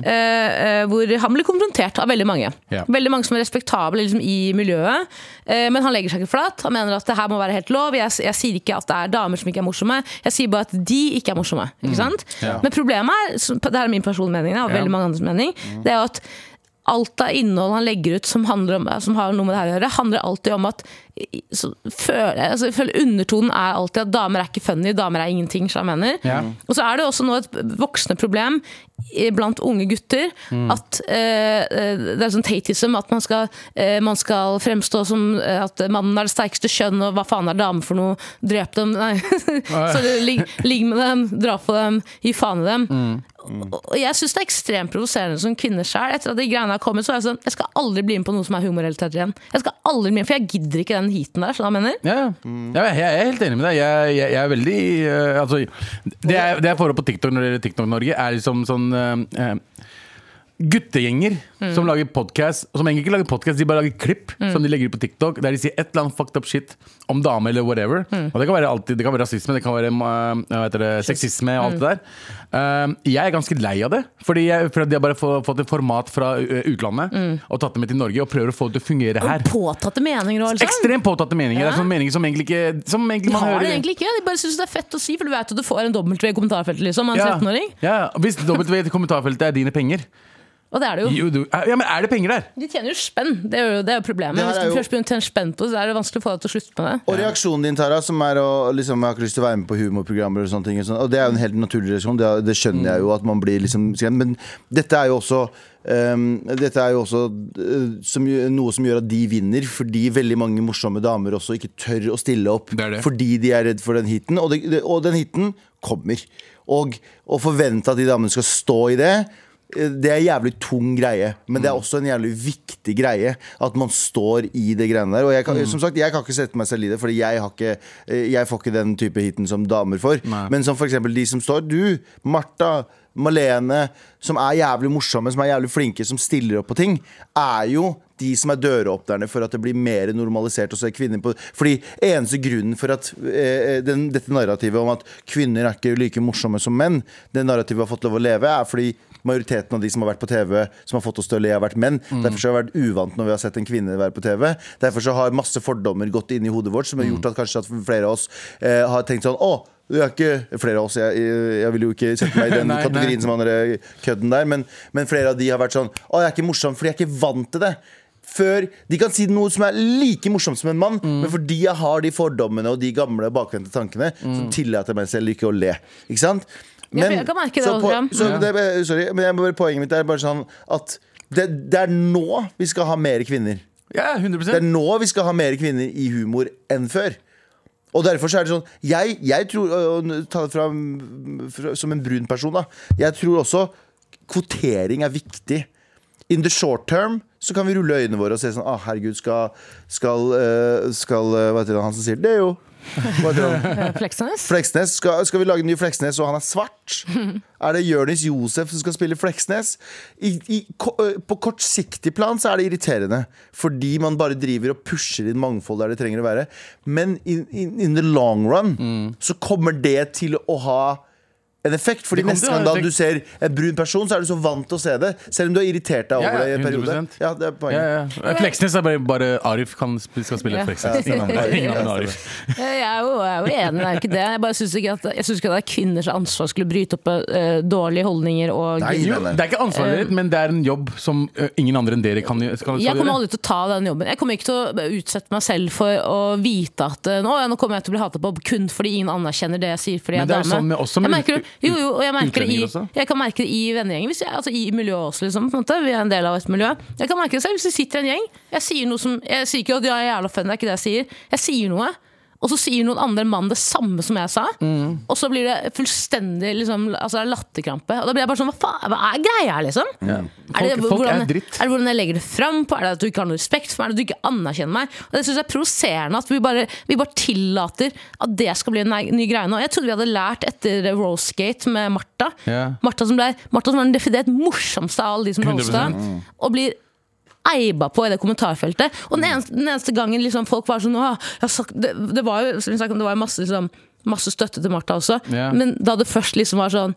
Speaker 3: eh, eh, hvor han blir konfrontert av veldig mange.
Speaker 4: Ja.
Speaker 3: Veldig mange som er respektable liksom, i miljøet. eh, men han legger seg ikke flat. Han mener at det her må være helt lov. Jeg, jeg sier ikke at det er damer som ikke er morsomme, jeg sier bare at de ikke er morsomme. Ikke sant?
Speaker 4: Mm. Ja.
Speaker 3: Men problemet er, som- det her er min personlige mening, da, og
Speaker 4: Ja.
Speaker 3: veldig mange andres mening, det er jo at alt av innhold han legger ut som, handler om, som har noe med det her å gjøre, handler alltid om at så, føler, altså, jeg føler Undertonen er alltid at damer er ikke funny, damer er ingenting. Så jeg mener.
Speaker 4: Ja.
Speaker 3: Og så er det også nå et voksende problem i- blant unge gutter at eh, eh, det er sånn tatism, at man skal, eh, man skal fremstå som eh, at mannen er det sterkeste kjønn, og hva faen er dame for noe, drep dem, nei. så ligg ligg med dem, dra på dem, gi faen i dem. Og jeg syns det er ekstremt provoserende som kvinne sjøl. Etter at de greiene har kommet, så er jeg sånn Jeg skal aldri bli med på noe som er humorrelatert igjen. Jeg skal aldri bli med, For jeg gidder ikke den heaten der. Skjønner du hva jeg mener?
Speaker 4: Ja, ja. Ja, jeg jeg er helt enig med deg. Jeg, jeg, jeg er veldig eh, altså, det, jeg, det jeg får opp på TikTok når det gjelder TikTok-Norge, er liksom sånn eh, eh, Guttegjenger som lager podcast Som egentlig ikke lager podcast, de bare lager klipp som de legger ut på TikTok, der de sier et eller annet fucked up shit om dame eller whatever. Og Det kan være alltid, det kan være rasisme, det kan være eh, hva heter det, sexisme og alt det der. Eh, jeg er ganske lei av det, fordi jeg, for de har bare få- fått et format fra eh, utlandet og tatt det med til Norge og prøver å få det til å fungere her.
Speaker 3: Påtatte meninger og alt sånn. sånt.
Speaker 4: Ekstremt påtatte meninger. Det
Speaker 3: Ja.
Speaker 4: er sånne meninger som egentlig ikke Som egentlig
Speaker 3: De
Speaker 4: man
Speaker 3: har
Speaker 4: hører
Speaker 3: det egentlig ikke. De bare syns det er fett å si, for du vet at du får en W i kommentarfeltet liksom, av en
Speaker 4: Ja.
Speaker 3: 13-åring.
Speaker 4: Ja, Hvis W i kommentarfeltet er dine penger,
Speaker 3: Og det er det jo.
Speaker 4: Jo, du, ja, men er det penger der?
Speaker 3: De tjener jo spenn, det er jo, det er jo problemet.
Speaker 2: Det her
Speaker 3: Hvis
Speaker 2: er
Speaker 3: du
Speaker 2: jo-
Speaker 3: først begynner å tjene spenn på det, så er det vanskelig å få deg til å slutte med det.
Speaker 2: Og reaksjonen din, Tara, som er å liksom, Jeg har ikke lyst til å være med på humorprogrammer og sånne ting. Og, sånn, og det er jo en helt naturlig reaksjon. Det, det skjønner jeg jo at man blir liksom skremt. Men dette er jo også ehm, Dette er jo også eh, som, gjø- noe som gjør at de vinner, fordi veldig mange morsomme damer også ikke tør å stille opp.
Speaker 4: Det er det.
Speaker 2: Fordi de er redd for den hiten. Og, det, det, og den hiten kommer. Og å forvente at de damene skal stå i det eh, det er en jævlig tung greie, men det er også en jævlig viktig greie. At man står i det greiene der. Og jeg kan, som sagt, jeg kan ikke sette meg selv i det, Fordi jeg, har ikke, eh, jeg får ikke den type hiten som damer får.
Speaker 4: Nei.
Speaker 2: Men som f.eks. de som står. Du, Martha, Malene, som er jævlig morsomme, som er jævlig flinke, som stiller opp på ting, er jo de som er døråpnerne for at det blir mer normalisert å se kvinner på Fordi eneste grunnen for at eh, den, dette narrativet om at kvinner er ikke like morsomme som menn, det narrativet har fått lov å leve, er fordi majoriteten av de som har vært på TV, som har fått oss til å le, har vært menn.
Speaker 4: Mm.
Speaker 2: Derfor så har vi vært uvant når vi har sett en kvinne være på TV. Derfor så har masse fordommer gått inn i hodet vårt, som har
Speaker 4: Mm.
Speaker 2: gjort at kanskje at flere av oss eh, har tenkt sånn Å, du er ikke Flere av oss, jeg, jeg vil jo ikke sette meg i den
Speaker 4: Nei,
Speaker 2: kategorien
Speaker 4: nei.
Speaker 2: som han der kødden der, men, men flere av de har vært sånn Å, jeg er ikke morsom fordi jeg er ikke vant til det. Før, De kan si noe som er like morsomt som en mann,
Speaker 3: Mm.
Speaker 2: men fordi jeg har de fordommene og de gamle bakvendte tankene, så tillater jeg meg selv ikke å le. Ikke sant?
Speaker 3: Mm. Ja, for jeg kan merke det
Speaker 2: så
Speaker 3: også,
Speaker 2: på,
Speaker 3: Gram.
Speaker 2: så det, sorry, men jeg, må bare, poenget mitt er bare sånn at det, det er nå vi skal ha mer kvinner.
Speaker 4: Ja,
Speaker 2: Det er
Speaker 4: 100
Speaker 2: nå vi skal ha mer kvinner i humor enn før. Og derfor så er det sånn Jeg, jeg tror og nå Ta det fra, fra, som en brun person, da. Jeg tror også kvotering er viktig. In the short term så kan vi rulle øynene våre og se sånn ah, herregud, skal, skal, eh, skal eh, Hva heter det han som sier det? er jo Hva heter han?
Speaker 3: Eh, Fleksnes?
Speaker 2: Fleksnes, skal, skal vi lage en ny Fleksnes, og han er svart? Er det Jørnis Josef som skal spille Fleksnes? I, i, ko- ø, på kortsiktig plan så er det irriterende, fordi man bare driver og pusher inn mangfold der det trenger å være. Men in, in, in the long run
Speaker 4: Mm.
Speaker 2: så kommer det til å ha en effekt, fordi
Speaker 4: Det kommer
Speaker 2: neste
Speaker 4: til å ha
Speaker 2: gang
Speaker 4: en
Speaker 2: da
Speaker 4: effekt.
Speaker 2: du ser en brun person, så er du så vant til å se det. Selv om du har irritert deg
Speaker 4: Ja,
Speaker 2: over
Speaker 4: ja,
Speaker 2: det i en periode.
Speaker 4: 100%.
Speaker 2: Ja, det er
Speaker 4: ja,
Speaker 2: poenget.
Speaker 4: ja. Fleksnes er bare, bare Arif kan, sp- skal spille
Speaker 3: Ja.
Speaker 4: Fleksnes. Ingen andre, ingen andre Arif.
Speaker 3: Eh, Jeg er jo, jeg er jo enig, det er jo ikke det. Jeg bare syns ikke, at- jeg synes ikke at det er kvinners ansvar skulle bryte opp eh, dårlige holdninger og
Speaker 2: Nei,
Speaker 4: Jo, det er ikke ansvaret ditt, men det er en jobb som ø, ingen andre enn dere kan, gjø- skal, skal
Speaker 3: Eh. Jeg kommer
Speaker 4: gjøre.
Speaker 3: aldri til å ta den jobben. Jeg kommer ikke til å utsette meg selv for å vite at eh, nå, ja, nå kommer jeg til å bli hata på kun fordi ingen anerkjenner det jeg sier fordi jeg
Speaker 4: Men
Speaker 3: er
Speaker 4: det er jo
Speaker 3: dame.
Speaker 4: sånn med- også
Speaker 3: jeg
Speaker 4: med
Speaker 3: merker, det- jo, jo, og jeg, merker det
Speaker 4: utlendinger
Speaker 3: i,
Speaker 4: også.
Speaker 3: jeg kan merke det i vennegjengen, hvis jeg, altså i miljøet også. Liksom, på en måte. Vi er en del av et miljø. Jeg kan merke det selv hvis det sitter en gjeng. Jeg sier noe som Jeg sier ikke at jeg er jævla fun, det er ikke det jeg sier. Jeg sier noe. Og så sier noen andre mann det samme som jeg sa.
Speaker 4: Mm.
Speaker 3: Og så blir det fullstendig liksom, altså, det er latterkrampe. Og da blir jeg bare sånn Hva faen, hva er greia her, liksom? Er det,
Speaker 4: Folk- folk
Speaker 3: hvordan,
Speaker 4: er dritt.
Speaker 3: Er det hvordan jeg legger det fram på? Er det at du ikke har noe respekt for meg? Er det at du ikke anerkjenner meg? Og Det synes jeg er provoserende at vi bare, vi bare tillater at det skal bli en nei- ny greie nå. Jeg trodde vi hadde lært etter Rosegate med Martha.
Speaker 4: Ja.
Speaker 3: Martha, som ble, Martha som var den definert morsomste av alle de som
Speaker 4: 100%.
Speaker 3: roasta.
Speaker 4: Mm.
Speaker 3: Og blir eiba på i det kommentarfeltet. Og den eneste, den eneste gangen liksom folk var sånn «Åh, jeg har sagt, det, det var jo som vi snakket om, det var jo masse, liksom, masse støtte til Martha også,
Speaker 4: Ja.
Speaker 3: men da det først liksom var sånn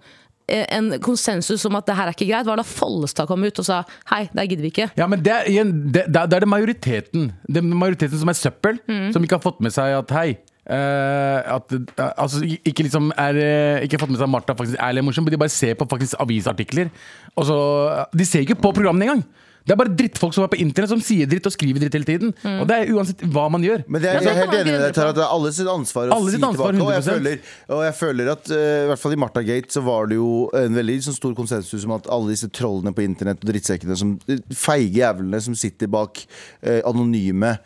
Speaker 3: eh, en konsensus om at det her er ikke greit, var da Follestad kom ut og sa hei, det her gidder vi ikke.
Speaker 4: Ja, men det er, igjen, det, det er det er majoriteten Det er majoriteten som er søppel,
Speaker 3: Mm.
Speaker 4: som ikke har fått med seg at hei eh, at, eh, altså, i- ikke liksom er, eh, Ikke fått med seg at Martha faktisk er litt morsom, men de bare ser på faktisk avisartikler. Og så, de ser ikke på programmene engang! Det er bare drittfolk som er på internett som sier dritt og skriver dritt hele tiden.
Speaker 3: Mm.
Speaker 4: Og det er uansett hva man gjør. Altså,
Speaker 2: Men det er, jeg er
Speaker 3: Men det
Speaker 2: helt
Speaker 3: kan man
Speaker 2: enig med
Speaker 3: grunne
Speaker 2: deg, Tara. at Det er alle sitt ansvar å
Speaker 4: Alle
Speaker 2: si
Speaker 4: sitt ansvar,
Speaker 2: tilbake. Og jeg,
Speaker 4: 100%.
Speaker 2: føler, og jeg føler at eh, i hvert fall i Martha Gate så var det jo en veldig sånn stor konsensus om at alle disse trollene på internett og drittsekkene, som, feige jævlene som sitter bak eh, anonyme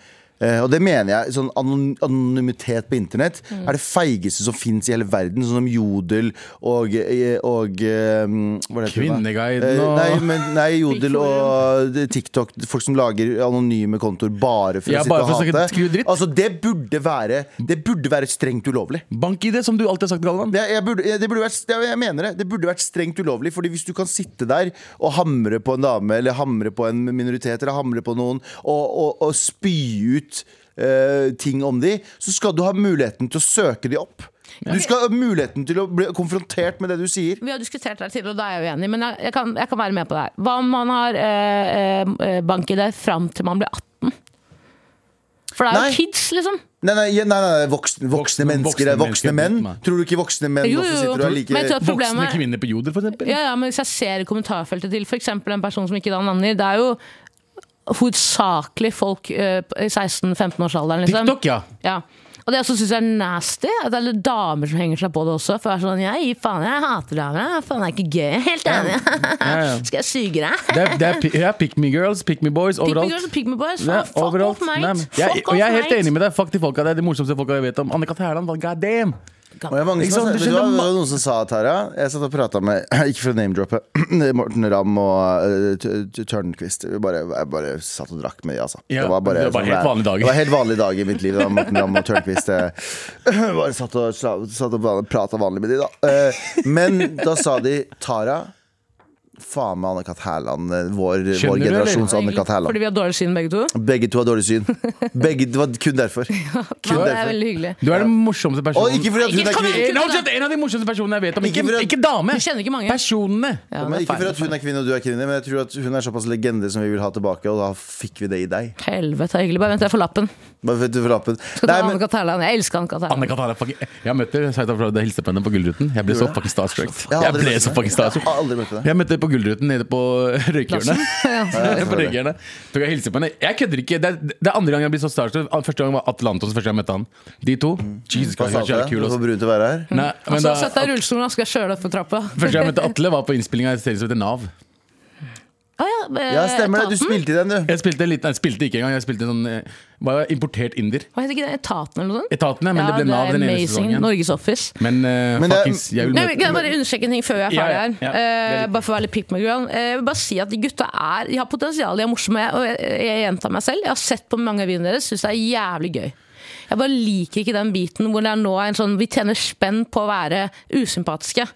Speaker 2: eh, og det mener jeg, sånn anon Anonymitet på internett
Speaker 4: Mm.
Speaker 2: er det feigeste som fins i hele verden. Sånn som Jodel og, eh, og eh, hva er det heter det?
Speaker 4: Kvinneguiden og-
Speaker 2: Nei, men, nei, Jodel og TikTok. Folk som lager anonyme kontoer bare for
Speaker 4: Ja,
Speaker 2: å sitte
Speaker 4: bare for å
Speaker 2: og
Speaker 4: snakke-
Speaker 2: hate.
Speaker 4: skrive dritt.
Speaker 2: Altså, det burde være Det burde være strengt ulovlig.
Speaker 4: Bank i det, som du alltid har sagt, Galvan.
Speaker 2: Det, jeg, burde, det, burde vært, det, jeg mener det. Det burde vært strengt ulovlig. Fordi hvis du kan sitte der og hamre på en dame, eller hamre på en minoritet, eller hamre på noen, og, og, og spy ut eh, ting om de, så skal du ha muligheten til å søke de opp. Du skal ha muligheten til å bli konfrontert med det du sier.
Speaker 3: Vi har diskutert det her tidligere, og da er jeg uenig, men jeg, jeg, kan, jeg kan være med på det her. eh, Hva om man har eh, eh, bank i det fram til man blir 18? For det er
Speaker 2: Nei.
Speaker 3: jo kids, liksom.
Speaker 2: Nei, nei, ja, nei, nei voksne, voksne
Speaker 4: Voksne-
Speaker 2: mennesker er voksne
Speaker 4: voksne
Speaker 2: menn.
Speaker 4: mennesker, nei.
Speaker 2: Tror du ikke voksne menn
Speaker 3: Jo,
Speaker 2: også
Speaker 3: jo, jo.
Speaker 2: sitter og er
Speaker 3: Men jeg
Speaker 2: like
Speaker 3: tror- Problemet-
Speaker 4: Voksne kvinner på jodel, for eksempel.
Speaker 3: Ja, ja, men hvis jeg ser i kommentarfeltet til f.eks. en person som ikke da navngir, det er jo hovedsakelig folk eh, i 16-15-årsalderen, liksom.
Speaker 4: TikTok, ja.
Speaker 3: Ja. Og det jeg også syns er nasty, at det er damer som henger seg på det også. For jeg er sånn Jeg gir faen, jeg hater damer. jeg. Faen, det er ikke gøy. Jeg er Helt enig.
Speaker 4: ja, ja.
Speaker 3: Skal jeg suge deg?
Speaker 4: Det er, det er, pi- ja, pick me girls, pick me boys,
Speaker 3: Pick me
Speaker 4: overalt.
Speaker 3: girls og pick me boys.
Speaker 4: Ja,
Speaker 3: Faen, fuck
Speaker 4: overalt.
Speaker 3: off, mate.
Speaker 4: Nei, men jeg,
Speaker 3: fuck
Speaker 4: og jeg er helt
Speaker 3: mate.
Speaker 4: enig med deg. Fuck de folka. Det er de morsomste folka jeg vet om. Anne Kat. Hærland, god damn!
Speaker 2: Og jeg er mange
Speaker 4: Ikke
Speaker 2: som,
Speaker 4: sant,
Speaker 2: har-
Speaker 4: det
Speaker 2: vet du hva,
Speaker 4: skjedde
Speaker 2: det
Speaker 4: ma-
Speaker 2: var noen som sa at her, ja. Jeg satt og prata med Ikke for å name-droppe. Morten Ramm og eh, T- T- Tørnquist. Vi bare, jeg bare satt og drakk med de, altså.
Speaker 4: Ja, det var helt
Speaker 2: der-
Speaker 4: vanlige dager.
Speaker 2: Det var helt vanlige dager i mitt liv. Da, Morten Ramm og Tørnquist. eh, Bare satt og, sla- satt og prata vanlig med de, da. Eh, Men da sa de Tara Faen meg Anne-Kat. Hærland. eh, Vår,
Speaker 4: Skjønner
Speaker 2: vår
Speaker 4: du, eller?
Speaker 2: generasjons Anne-Kat. Hærland.
Speaker 3: Fordi vi har dårlig syn, begge to.
Speaker 2: Begge to har dårlig syn. Begge, det var kun derfor.
Speaker 3: Ja,
Speaker 2: Kun
Speaker 3: det er
Speaker 2: derfor.
Speaker 3: veldig hyggelig.
Speaker 4: Du er den morsomste
Speaker 2: Og
Speaker 4: personen.
Speaker 2: ikke fordi at hun
Speaker 3: Ikke
Speaker 2: er
Speaker 3: kom
Speaker 2: kvinne.
Speaker 3: igjen!
Speaker 4: Eh, no, ikke sant, en av de morsomste personene jeg vet om. Ikke,
Speaker 2: Ikke for at-
Speaker 4: ikke dame!
Speaker 3: Du kjenner ikke mange.
Speaker 4: Personene.
Speaker 3: Ja,
Speaker 2: Men
Speaker 3: det er
Speaker 2: ikke for
Speaker 3: feil.
Speaker 2: at hun er kvinne og du er kvinne, men jeg tror at hun er såpass legende som vi vil ha tilbake, og da fikk vi det i deg.
Speaker 3: Helvete, det er hyggelig. Bare vent, jeg får lappen.
Speaker 2: Bare vet du for lappen.
Speaker 3: Skal ta
Speaker 2: Nei, men,
Speaker 3: Anne Katarland. Jeg elsker Anne Katarland.
Speaker 4: Anne Kat. Hærland. fucking- Jeg møtte henne, hilste på henne på Gullruten. Jeg ble så fucking starstruck.
Speaker 2: Jeg har
Speaker 4: Jeg
Speaker 2: aldri
Speaker 4: ble
Speaker 2: møtt
Speaker 4: så
Speaker 2: henne.
Speaker 4: fucking starstruck.
Speaker 2: Jeg har aldri møtt henne.
Speaker 4: Jeg møtte henne på Gullruten nede på røykehjørnet.
Speaker 2: selvfølgelig.
Speaker 4: på røykehjørnet. Tok jeg hilse på henne. Jeg kødder ikke. Det er, det er andre gang jeg blir så starstruck. Første gang var Atlantos, første gang jeg møtte han. De to.
Speaker 2: Mm. hva
Speaker 4: Jesus Christ,
Speaker 2: sa
Speaker 4: jeg er så jævlig
Speaker 2: du? Du
Speaker 4: kul, altså. ass.
Speaker 2: får brun til å være her.
Speaker 4: Nei, men
Speaker 3: Og så
Speaker 4: da,
Speaker 3: setter jeg rullestolen og skal jeg kjøre deg opp på trappa.
Speaker 4: første gang jeg møtte Atle, var på innspillinga av en serie som heter Nav.
Speaker 3: Å ja, eh,
Speaker 2: Ja, stemmer det. Du
Speaker 3: Etaten?
Speaker 2: spilte i den, du.
Speaker 4: Jeg spilte, en liten, nei, spilte ikke engang. Jeg spilte en sånn eh, Var importert inder.
Speaker 3: Hva heter ikke det? Etaten eller noe sånt?
Speaker 4: Etaten, ja, men det ble Nav den ene
Speaker 3: amazing.
Speaker 4: sesongen.
Speaker 3: Norges Office.
Speaker 4: Men, eh,
Speaker 2: Men det er-
Speaker 4: fuckings, jeg vil
Speaker 3: Nei, men
Speaker 4: møte
Speaker 3: kan jeg bare understreke en ting før vi er
Speaker 4: Ja,
Speaker 3: ferdig
Speaker 4: ja,
Speaker 3: her?
Speaker 4: ja, det er
Speaker 3: Eh,
Speaker 4: riktig.
Speaker 3: bare for å være litt pick me girl. Eh, jeg vil bare si at de gutta er De har potensial, de er morsomme. Og jeg, jeg gjentar meg selv. Jeg har sett på mange av videoene deres, syns det er jævlig gøy. Jeg bare liker ikke den biten hvor det er nå er en sånn Vi tjener spenn på å være usympatiske.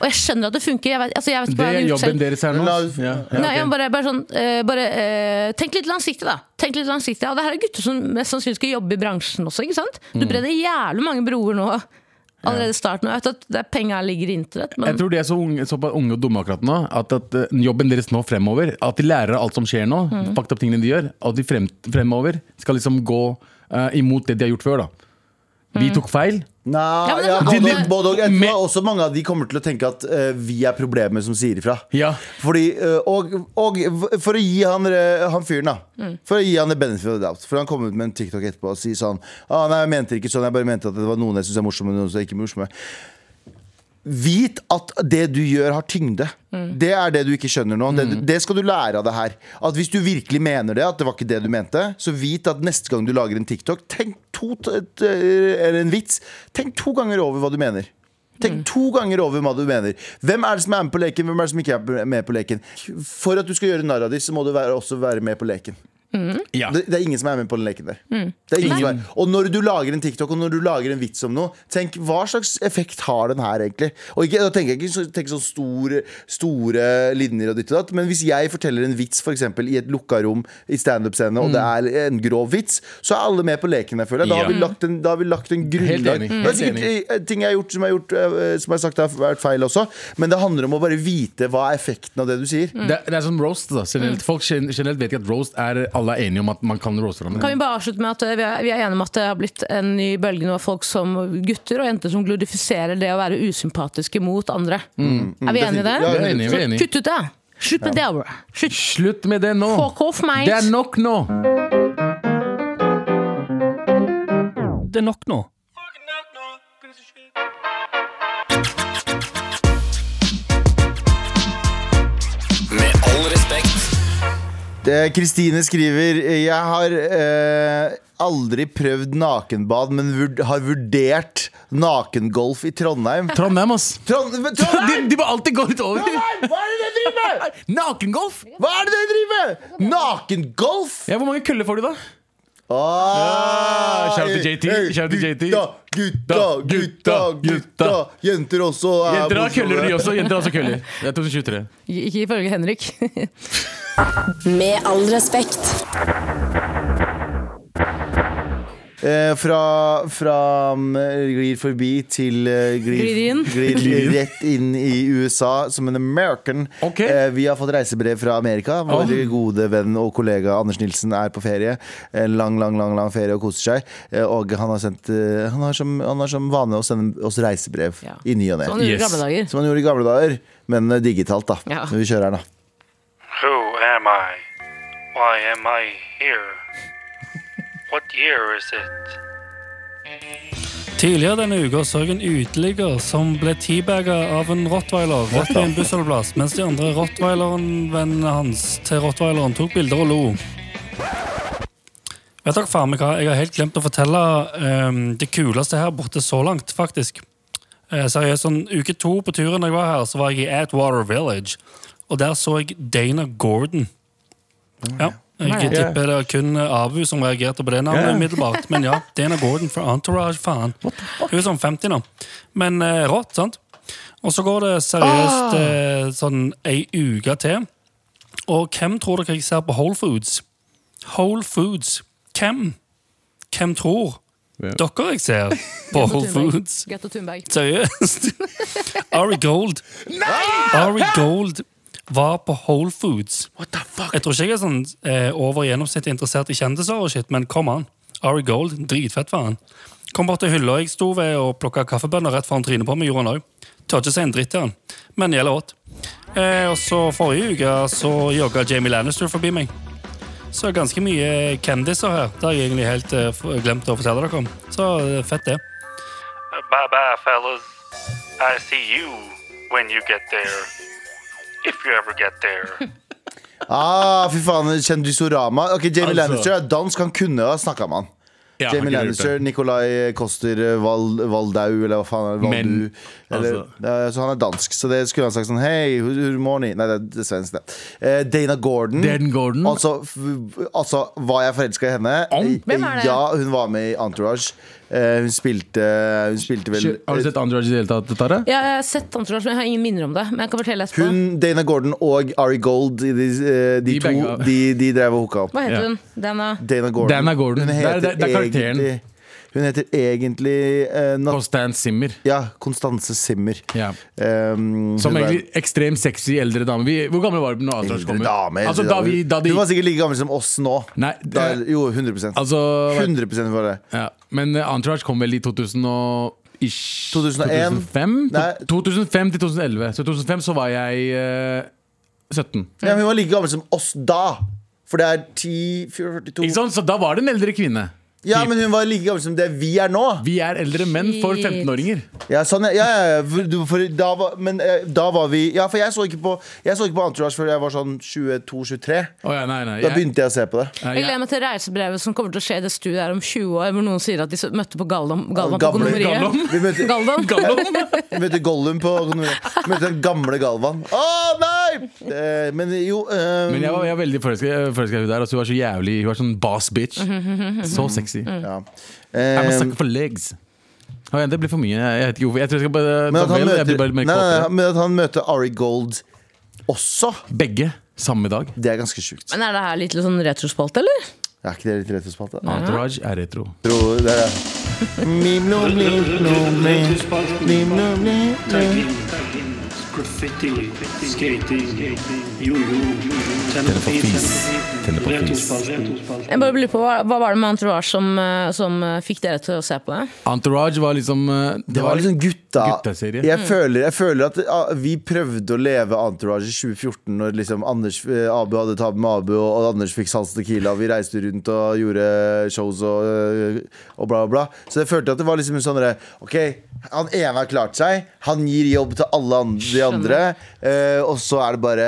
Speaker 3: Og jeg skjønner at det funker. Jeg vet, altså, jeg vet ikke
Speaker 4: Det
Speaker 3: hva jeg
Speaker 4: er
Speaker 3: hadde gjort
Speaker 4: jobben
Speaker 3: selv.
Speaker 4: deres her nå.
Speaker 2: La-
Speaker 4: ass. Ja, ja,
Speaker 3: Nei,
Speaker 4: ok.
Speaker 3: jeg bare, bare sånn, eh, bare, eh, tenk litt langsiktig, da. Tenk litt langsiktig Og det her er gutter som mest sannsynlig skal jobbe i bransjen også. ikke sant? Du
Speaker 4: Mm.
Speaker 3: brenner jævlig mange broer nå. Allerede i starten. og Jeg vet at det er penga ligger i internett, men
Speaker 4: Jeg tror de er så unge, såpass unge og dumme akkurat nå at, at eh, jobben deres nå fremover At de lærer av alt som skjer nå,
Speaker 3: Mm.
Speaker 4: fucked up tingene de gjør, og at de frem, fremover skal liksom gå eh, imot det de har gjort før. da
Speaker 3: Mm.
Speaker 4: Vi tok feil.
Speaker 2: Nei,
Speaker 3: Ja, men det er
Speaker 2: ja,
Speaker 3: sånn
Speaker 2: både,
Speaker 3: alle-
Speaker 2: både, og. jeg
Speaker 4: Med-
Speaker 2: tror også mange av de kommer til å tenke at eh, vi er problemet som sier ifra.
Speaker 4: Ja.
Speaker 2: Fordi, eh, og, og for å gi han, eh, han fyren, da. For å gi han the benefit of the doubt. For han kom ut med en TikTok etterpå og sier sånn ah, Nei, jeg mente det ikke sånn, jeg bare mente at det var noen jeg syns er morsomme, og noen som ikke er morsomme. Vit at det du gjør, har tyngde. Det er det du ikke skjønner nå. Det, det skal du lære av det her. At Hvis du virkelig mener det, at det var ikke det du mente, så vit at neste gang du lager en TikTok, tenk to, t- eller en vits, tenk to ganger over hva du mener. Tenk to ganger over hva du mener. Hvem er det som er med på leken, hvem er det som ikke er med på leken? For at du skal gjøre narr av dem, så må du være, også være med på leken.
Speaker 4: Ja.
Speaker 2: Det, det er ingen som er med på den leken der. Det er ingen som er. Og når du lager en TikTok og når du lager en vits om noe, tenk hva slags effekt har den her egentlig? Og ikke, da tenker jeg ikke så, tenk sånn store, store linjer og ditt og datt, men hvis jeg forteller en vits for eksempel, i et lukka rom i standup-scene, og det er en grov vits, så er alle med på leken der, føler jeg. Da har vi
Speaker 4: Ja.
Speaker 2: lagt en, da har vi lagt en grunnlag.
Speaker 4: enig.
Speaker 2: Det er
Speaker 4: Helt
Speaker 2: sikkert eh, ting jeg har gjort som jeg har, gjort, eh, som jeg har sagt har vært feil også, men det handler om å bare vite hva er effekten av det du sier.
Speaker 4: Det, det er som roast. da
Speaker 3: Mm.
Speaker 4: generelt, Folk gen- generelt vet ikke at roast er Alle er enige om at man kan roaste hverandre.
Speaker 3: Kan vi bare avslutte med at eh, vi er, vi er enige om at det har blitt en ny bølge nå av folk som gutter og jenter som glorifiserer det å være usympatiske mot andre. er vi enige i det?
Speaker 2: Ja,
Speaker 4: Vi Mm, er enige, vi er enige.
Speaker 3: Kutt ut det! Slutt med det! bro. Slutt.
Speaker 4: Slutt med det nå!
Speaker 3: Fuck off, mate.
Speaker 4: Det er nok nå!
Speaker 5: Det er nok nå.
Speaker 6: Med all respekt.
Speaker 2: Det- Kristine skriver Jeg har eh, aldri prøvd nakenbad, men vurd har vurdert nakengolf i Trondheim.
Speaker 4: Trondheim, ass.
Speaker 2: Trond
Speaker 4: De,
Speaker 2: Trondheim!
Speaker 4: de må alltid gå litt over.
Speaker 2: Hva er det dere driver med?!
Speaker 4: Nakengolf!
Speaker 2: Hva er det dere driver med?! Nakengolf!
Speaker 4: Ja, hvor mange køller får du, da?
Speaker 2: Ah,
Speaker 4: shout out til JT,
Speaker 2: hey,
Speaker 4: shout out til JT.
Speaker 2: Gutta, gutta, gutta, gutta. Jenter også. er
Speaker 4: Jenter har køller, de
Speaker 2: morsomme.
Speaker 4: også. Jenter har også køller. Det er 2023.
Speaker 3: Ikke ifølge Henrik.
Speaker 1: Med all respekt.
Speaker 2: Eh, fra fra mm, glir forbi til eh, glir,
Speaker 3: Glir inn.
Speaker 2: glir
Speaker 4: Glir inn.
Speaker 2: rett inn i USA som en American.
Speaker 4: Ok.
Speaker 2: Eh, vi har fått reisebrev fra Amerika. Vår
Speaker 4: Åh.
Speaker 2: gode venn og kollega Anders Nilsen er på ferie. En lang, lang, lang, lang ferie og koser seg. Eh, og han har, sendt, eh, han, har som, han har som vane å sende oss reisebrev
Speaker 3: Ja.
Speaker 2: i ny og
Speaker 3: Sånn
Speaker 2: ne.
Speaker 3: gjorde i
Speaker 4: Yes.
Speaker 3: gamle dager.
Speaker 2: Som han gjorde i gamle dager, men eh, digitalt, da.
Speaker 3: Ja.
Speaker 2: Vi kjører den, da.
Speaker 7: Who am I? Why am I here? What year is it?
Speaker 5: Tidligere denne uka så jeg en uteligger som ble teabagga av en rottweiler rett ved en bussholdeplass, mens de andre rottweileren-vennene hans til rottweileren tok bilder og lo. Vet dere faen meg hva, jeg har helt glemt å fortelle ehm, det kuleste her borte så langt, faktisk. Eh, seriøst, sånn uke to på turen jeg var her, så var jeg i Atwater Village, og der så jeg Dana Gordon. Ja, jeg tipper det er kun Abu som reagerte på det navnet umiddelbart. Men ja, Dana Gordon fra Entourage, faen. Hun er sånn 50 nå. Men eh, rått, sant? Og så går det seriøst eh, sånn ei uke til. Og hvem tror dere jeg ser på Whole Foods? Whole Foods. Hvem? Hvem tror dere jeg ser på Whole Foods?
Speaker 3: Greta Thunberg.
Speaker 5: Seriøst? Ari Gold. Ari Gold var på Whole Foods. Jeg tror ikke jeg er sånn eh, over gjennomsnittet interessert i kjendiser og shit, men kom an. Ari Gold, dritfett var han. Kom bort til hylla jeg sto ved og plukka kaffebønner rett foran trynet på meg, gjorde han òg. Tør ikke si en dritt til han, men gjelder åt. Eh, og så forrige uke så jogga Jamie Lannister forbi meg. Så det er ganske mye kendiser her. Det har jeg egentlig helt eh, f- glemt å fortelle dere om. Så eh, fett, det.
Speaker 7: Bye bye, fellas. I see you when you get there. If you ever get there.
Speaker 2: Ah, fy faen, kjendisorama. Ok, Jamie
Speaker 4: Altså.
Speaker 2: Lannister er dansk, han kunne ha snakka med han.
Speaker 4: Ja, han
Speaker 2: Jamie
Speaker 4: kunne gjort
Speaker 2: Lannister,
Speaker 4: det.
Speaker 2: Nicolai Koster Val, Valdau, eller hva faen er det? Valdu,
Speaker 4: Men, altså-
Speaker 2: eller, eh, Så han er dansk, så det skulle han sagt sånn Hei, good good morning Nei, det er- det er svensk, det. Eh, Dana Gordon.
Speaker 4: Dan Gordon.
Speaker 2: Altså, f- altså var jeg forelska i henne? Eh,
Speaker 4: Om?
Speaker 3: Hvem er det?
Speaker 2: Ja, hun var med i Entourage. Eh, hun spilte Hun spilte vel
Speaker 4: Har du sett Entourage i det hele tatt, Tare?
Speaker 3: Ja, jeg har sett Entourage, men jeg har ingen minner om det. Men jeg kan fortelle etterpå.
Speaker 2: hun, Dana Gordon og Ari Gold, de, eh, de, de
Speaker 4: De
Speaker 2: to,
Speaker 4: banga.
Speaker 2: de, de drev og hooka opp.
Speaker 3: Hva heter
Speaker 4: Ja.
Speaker 3: hun? Dana
Speaker 2: Dana Gordon.
Speaker 4: Dana
Speaker 2: Hun
Speaker 4: Gordon. Det er-
Speaker 2: heter
Speaker 4: det er- det er karakteren.
Speaker 2: egentlig Hun heter egentlig eh, Nat
Speaker 4: Constant Simmer.
Speaker 2: ja, Konstanse Simmer.
Speaker 4: Ja.
Speaker 2: Um,
Speaker 4: Som
Speaker 2: hun er-
Speaker 4: egentlig ekstremt sexy eldre dame. Vi, hvor gamle var du når Entourage kom
Speaker 2: Eldre
Speaker 4: ut?
Speaker 2: dame, eldre
Speaker 4: Altså, da
Speaker 2: dame.
Speaker 4: vi, da de,
Speaker 2: Hun var sikkert like gammel som oss nå.
Speaker 4: Nei,
Speaker 2: da,
Speaker 4: det-
Speaker 2: jo, 100
Speaker 4: altså,
Speaker 2: 100 var det.
Speaker 4: ja. Men eh, Entourage kom vel i 2000 og ish,
Speaker 2: 2001?
Speaker 4: 2005?
Speaker 2: Nei.
Speaker 4: 2005 til 2011. Så i 2005 så var jeg eh, 17.
Speaker 2: Ja, men hun var like gammel som oss da! For det er 10, 42
Speaker 4: Ikke sant? Så da var det en eldre kvinne.
Speaker 2: Ja, men hun var like gammel som det vi er nå!
Speaker 4: Vi er eldre menn for
Speaker 3: Shit.
Speaker 4: 15-åringer.
Speaker 2: Ja, sånn, ja, ja, ja, for, du- for da var, men eh, da var vi Ja, for jeg så ikke på Jeg så ikke på Entourage før jeg var sånn 22-23.
Speaker 4: Å ja, nei, nei.
Speaker 2: Da begynte jeg å se på det.
Speaker 3: Jeg
Speaker 4: Nei, jeg-
Speaker 3: gleder meg til reisebrevet som kommer til å skje i det studioet her om 20 år, hvor noen sier at de s- møtte på Galvan Galvan på
Speaker 2: Gamle-
Speaker 3: kondomeriet.
Speaker 2: Vi møter,
Speaker 3: Galvan?
Speaker 2: Møtte Gollum på Møtte den gamle Galvan. Å nei! Eh, men jo eh,
Speaker 4: Men jeg var, jeg var veldig forelska i henne der. Altså, hun var så jævlig Hun var sånn boss bitch. Så sexy.
Speaker 3: Mm.
Speaker 2: ja.
Speaker 4: Jeg må
Speaker 2: Eh,
Speaker 4: snakke for legs. Å, ja, det blir for mye. Jeg vet ikke hvorfor. Jeg tror jeg skal bare
Speaker 2: men,
Speaker 4: ta
Speaker 2: at han
Speaker 4: vel. Jeg
Speaker 2: møter,
Speaker 4: blir
Speaker 2: nei,
Speaker 4: bare mer
Speaker 2: nei, nei,
Speaker 4: kåtere.
Speaker 2: men at han møter Ari Gold også,
Speaker 4: Begge samme dag.
Speaker 2: det er ganske sjukt.
Speaker 3: Men er det her litt sånn retrospalte, eller?
Speaker 2: Er ikke det litt rett og slett? da?
Speaker 4: Entourage er retro.
Speaker 2: Tror det er Mimlo, mimlo, mimlo, mimlo, mimlo.
Speaker 8: Graffiti, skating, jojo, tenne på fis,
Speaker 4: Tenne på fis.
Speaker 8: retrospalten,
Speaker 3: Jeg bare lurer på, Hva hva var det med Entourage som, eh, som eh, fikk dere til å se på det?
Speaker 4: Entourage var liksom eh,
Speaker 2: Det var liksom gutta
Speaker 4: Guttaserie.
Speaker 3: Mm.
Speaker 2: jeg, føler, jeg føler at ah, vi prøvde å leve Entourage i 2014 Når liksom Anders, eh, Abu hadde tab med Abu Og og Anders fikk sans tequila Vi reiste rundt og gjorde shows og, eh, og bla bla bla Så jeg følte at det var liksom en sånn derre, Ok, han ene har klart seg Han gir jobb til alle and- de andre eh, Og så er det bare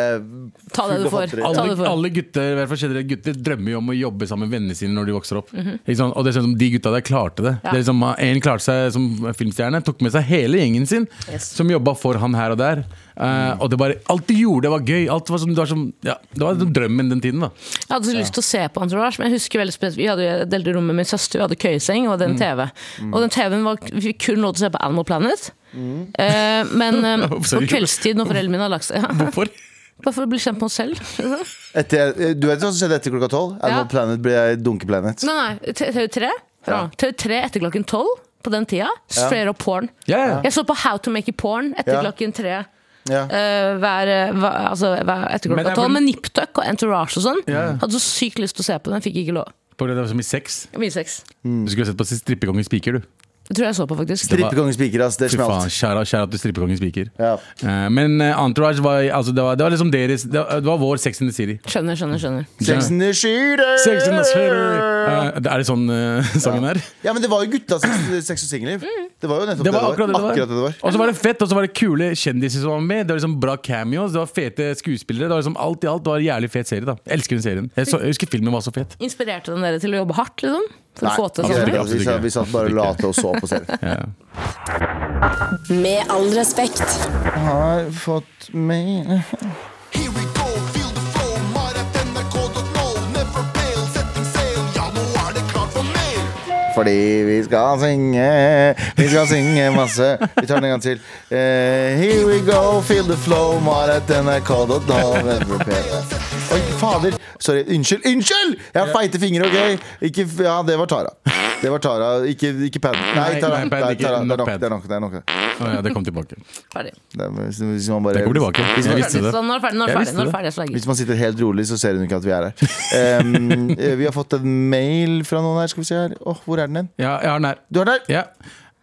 Speaker 3: Ta det du
Speaker 2: full av
Speaker 3: får.
Speaker 2: fatteri.
Speaker 3: Ta
Speaker 4: alle,
Speaker 3: det for.
Speaker 4: alle gutter i hvert fall generelt gutter drømmer jo om å jobbe sammen med vennene sine når de vokser opp. Ikke sant? Og det er sånn som De gutta der klarte det.
Speaker 3: Mhm. Ja.
Speaker 4: det er liksom, en klarte seg som filmstjerne, tok med seg hele gjengen sin,
Speaker 3: Yes. Mm.
Speaker 4: som jobba for han her og der. Eh, og det bare, alt de gjorde, var gøy. Alt var som, det, var som, ja, det var drømmen den tiden. da
Speaker 3: Jeg hadde så lyst til å se på Entourage, men jeg husker veldig spesielt Vi hadde jo delt rom med min søster, vi hadde køyeseng og den TV. Og den TV-en var Vi fikk kun lov til å se på Animal Planet. Eh, men eh, på
Speaker 4: Seriøst?
Speaker 3: kveldstid når foreldrene mine har lagt seg ja,
Speaker 4: Hvorfor?
Speaker 3: Bare for å bli kjent med oss selv.
Speaker 2: etter, eh, Du vet hva som skjedde etter klokka 12 Animal
Speaker 3: Ja.
Speaker 2: Planet ble Dunke Planet
Speaker 3: Nei, nei, TV3 Ja. TV3 etter klokken tolv på den tida. Straight up porn.
Speaker 4: Ja, ja.
Speaker 3: Jeg så på How to make a porn etter
Speaker 2: Ja.
Speaker 3: klokken tre.
Speaker 2: Ja.
Speaker 3: eh, hver, hver, altså, hver etter
Speaker 4: Men det
Speaker 3: klokka
Speaker 4: er
Speaker 3: tolv.
Speaker 4: vel-
Speaker 3: Med Niptuck og Entourage og sånn.
Speaker 4: Ja.
Speaker 3: Hadde så sykt lyst til å se på den, fikk ikke lov.
Speaker 4: På grunn av så mye sex.
Speaker 3: Mye sex.
Speaker 4: Du skulle sett på Strippekongen Spiker, du.
Speaker 3: Det tror jeg jeg så på, faktisk.
Speaker 2: Strippekongens spiker, ass. Det
Speaker 4: Fy faen,
Speaker 2: smalt.
Speaker 4: kjære, kjære at du Strippekongen Spiker.
Speaker 2: Ja.
Speaker 4: Eh, men eh, Entourage var, altså, det var, det var liksom deres Det var, det var vår Sex in the City.
Speaker 3: Skjønner, skjønner, skjønner.
Speaker 2: Sex in the shooter!
Speaker 4: Sex in the City! Eh, det- er det sånn eh, sangen er?
Speaker 2: Ja, men det var jo gutta sex, sex og singelliv. Det var jo nettopp
Speaker 4: Det var akkurat det det var.
Speaker 2: Akkurat det det var.
Speaker 4: Og så var det fett, og så var det kule kjendiser som var med. Det var liksom bra cameos, det var fete skuespillere. Det var liksom alt i alt det var en jævlig fet serie. da Jeg elsker den serien. Jeg, så, jeg husker filmen var så fet.
Speaker 3: Inspirerte den dere til å jobbe hardt, liksom? For
Speaker 2: Nei,
Speaker 3: å få
Speaker 4: altså,
Speaker 3: til
Speaker 2: absolutt
Speaker 3: sånne
Speaker 2: ikke.
Speaker 3: ting?
Speaker 2: Vi, satt- vi satt bare og late og så på serien.
Speaker 1: Med all respekt.
Speaker 2: Har fått mail Fordi vi skal synge, vi skal synge masse. Vi tar den en gang til. Eh, here we go, feel the flow, Marit NRK.no. Oi, fader. Sorry. Unnskyld. Unnskyld! Jeg har feite fingre, OK? Ikke, ja, det var Tara. Det var Tara, ikke, ikke Pad. Nei,
Speaker 4: Nei,
Speaker 2: Tara.
Speaker 4: nei, Pad,
Speaker 2: Nei,
Speaker 4: ikke-
Speaker 2: Tara. Det
Speaker 4: nok
Speaker 2: er nok.
Speaker 4: Pad.
Speaker 2: Det er nok. Det er nok.
Speaker 4: Å ja, det kom tilbake.
Speaker 3: Ferdig.
Speaker 2: Det er- hvis- hvis man bare-
Speaker 4: Det kommer tilbake.
Speaker 2: Hvis man-
Speaker 4: Jeg visste det.
Speaker 3: Sånn, nå er det ferdig, nå er
Speaker 4: Jeg
Speaker 3: det ferdig.
Speaker 4: visste
Speaker 3: Nå er
Speaker 4: det.
Speaker 3: det ferdig, Sverger.
Speaker 2: Hvis man sitter helt rolig, så ser hun ikke at vi er her. Um, eh, vi har fått en mail fra noen her. Skal vi se her. Åh, hvor er den hen?
Speaker 4: Ja, jeg har den her.
Speaker 2: Du har den der!
Speaker 4: Ja.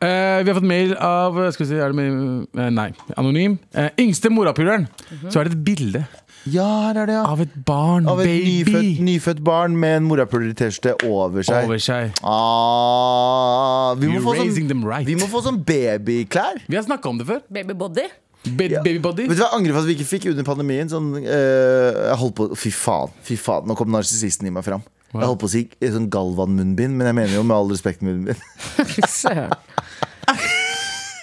Speaker 4: Eh, vi har fått mail av Skal vi si, er det mail? Eh, Nei, anonym. Eh, yngste morapuleren. Så er det et bilde
Speaker 2: Ja, her er det, ja.
Speaker 4: av et barn.
Speaker 2: Av et nyfødt,
Speaker 4: baby.
Speaker 2: nyfødt barn med en morapuler-T-skjorte over seg.
Speaker 4: Over seg.
Speaker 2: Ah, vi, må
Speaker 4: You're
Speaker 2: få
Speaker 4: raising
Speaker 2: sånn,
Speaker 4: them right.
Speaker 2: vi må få sånn babyklær.
Speaker 4: Vi har snakka om det før.
Speaker 3: Babybody?
Speaker 4: Ba Babybody.
Speaker 2: Vet du hva, Jeg angrer på at vi ikke fikk under pandemien. Sånn, eh, jeg holdt på, Fy faen, fy faen, nå kom narsissisten i meg fram. Jeg holdt på å si eh, sånn Galvan-munnbind, men jeg mener jo med all respekt munnbind.
Speaker 3: Fy søren.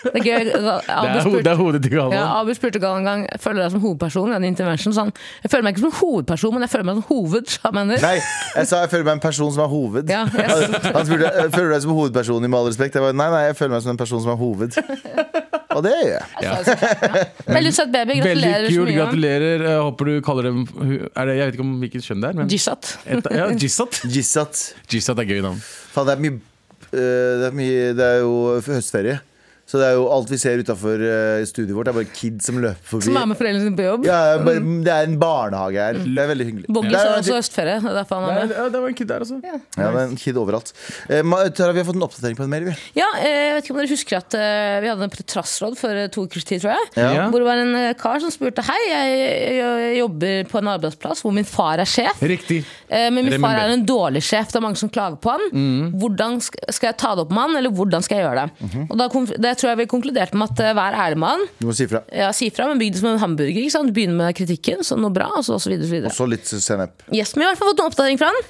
Speaker 3: Det er gøy.
Speaker 4: Det
Speaker 3: Abu
Speaker 4: er, ho det er
Speaker 3: spurte,
Speaker 4: hodet til
Speaker 3: ja,
Speaker 4: Galvan.
Speaker 3: Abu spurte Gal en gang Føler du deg som hovedperson i den intervention. Så han, jeg føler meg ikke som hovedperson, men jeg føler meg som hoved. sa han mener.
Speaker 2: Nei, jeg sa jeg føler meg en person som er hoved.
Speaker 3: Ja, yes.
Speaker 2: Han han spurte «Eh, føler du deg som hovedperson i Med all respekt. Jeg bare, nei, nei, jeg føler meg som en person som er hoved. Og det gjør jeg.
Speaker 3: Veldig søt baby.
Speaker 4: Veldig
Speaker 3: Gratulerer så
Speaker 4: kult.
Speaker 3: mye.
Speaker 4: Gratulerer. Jeg håper du kaller dem er det, Jeg vet ikke om hvilket kjønn det er. Men
Speaker 3: Jisat.
Speaker 4: et, ja, Jissat.
Speaker 2: Jissat.
Speaker 4: Jissat er gøy navn.
Speaker 2: Faen, det er mye eh, Det er, mye, det er jo høstferie. Så det er jo alt vi ser utafor studioet vårt, det er bare kids som løper forbi.
Speaker 3: Som er med foreldrene sine på jobb.
Speaker 2: Ja, bare, det er en barnehage her. Det er veldig hyggelig.
Speaker 3: Boggy
Speaker 2: Det
Speaker 3: sa
Speaker 2: er-
Speaker 3: også høstferie. Det er derfor han
Speaker 4: Ja,
Speaker 3: er med.
Speaker 4: det var en kid der, altså.
Speaker 2: ja, det er en kid overalt. Eh, Ma- Tara, vi har fått en oppdatering på en mail. vi.
Speaker 3: Ja, eh, jeg vet ikke om dere husker at eh, vi hadde en trassråd for eh, to ukers tid, tror jeg.
Speaker 4: Ja.
Speaker 3: Hvor det var en eh, kar som spurte Hei, jeg, jeg, jeg jobber på en arbeidsplass hvor min far er sjef.
Speaker 4: Riktig.
Speaker 3: Eh, Men min far
Speaker 4: Remember.
Speaker 3: er en dårlig sjef, det er mange som klager på han.
Speaker 2: Mm.
Speaker 3: Hvordan sk- Skal jeg ta det opp med han, eller hvordan skal jeg gjøre det?
Speaker 2: Mhm.
Speaker 3: Og da konf- det tror jeg vi konkluderte med at eh, vær ærlig med han.
Speaker 2: Du må si ifra.
Speaker 3: Ja, si fra, men bygg det som en hamburger. Ikke sant? Begynn med kritikken, så noe bra, og så og så videre. og så videre.
Speaker 2: Også litt sennep.
Speaker 3: Yes, men vi har i hvert fall fått en oppdatering fra han.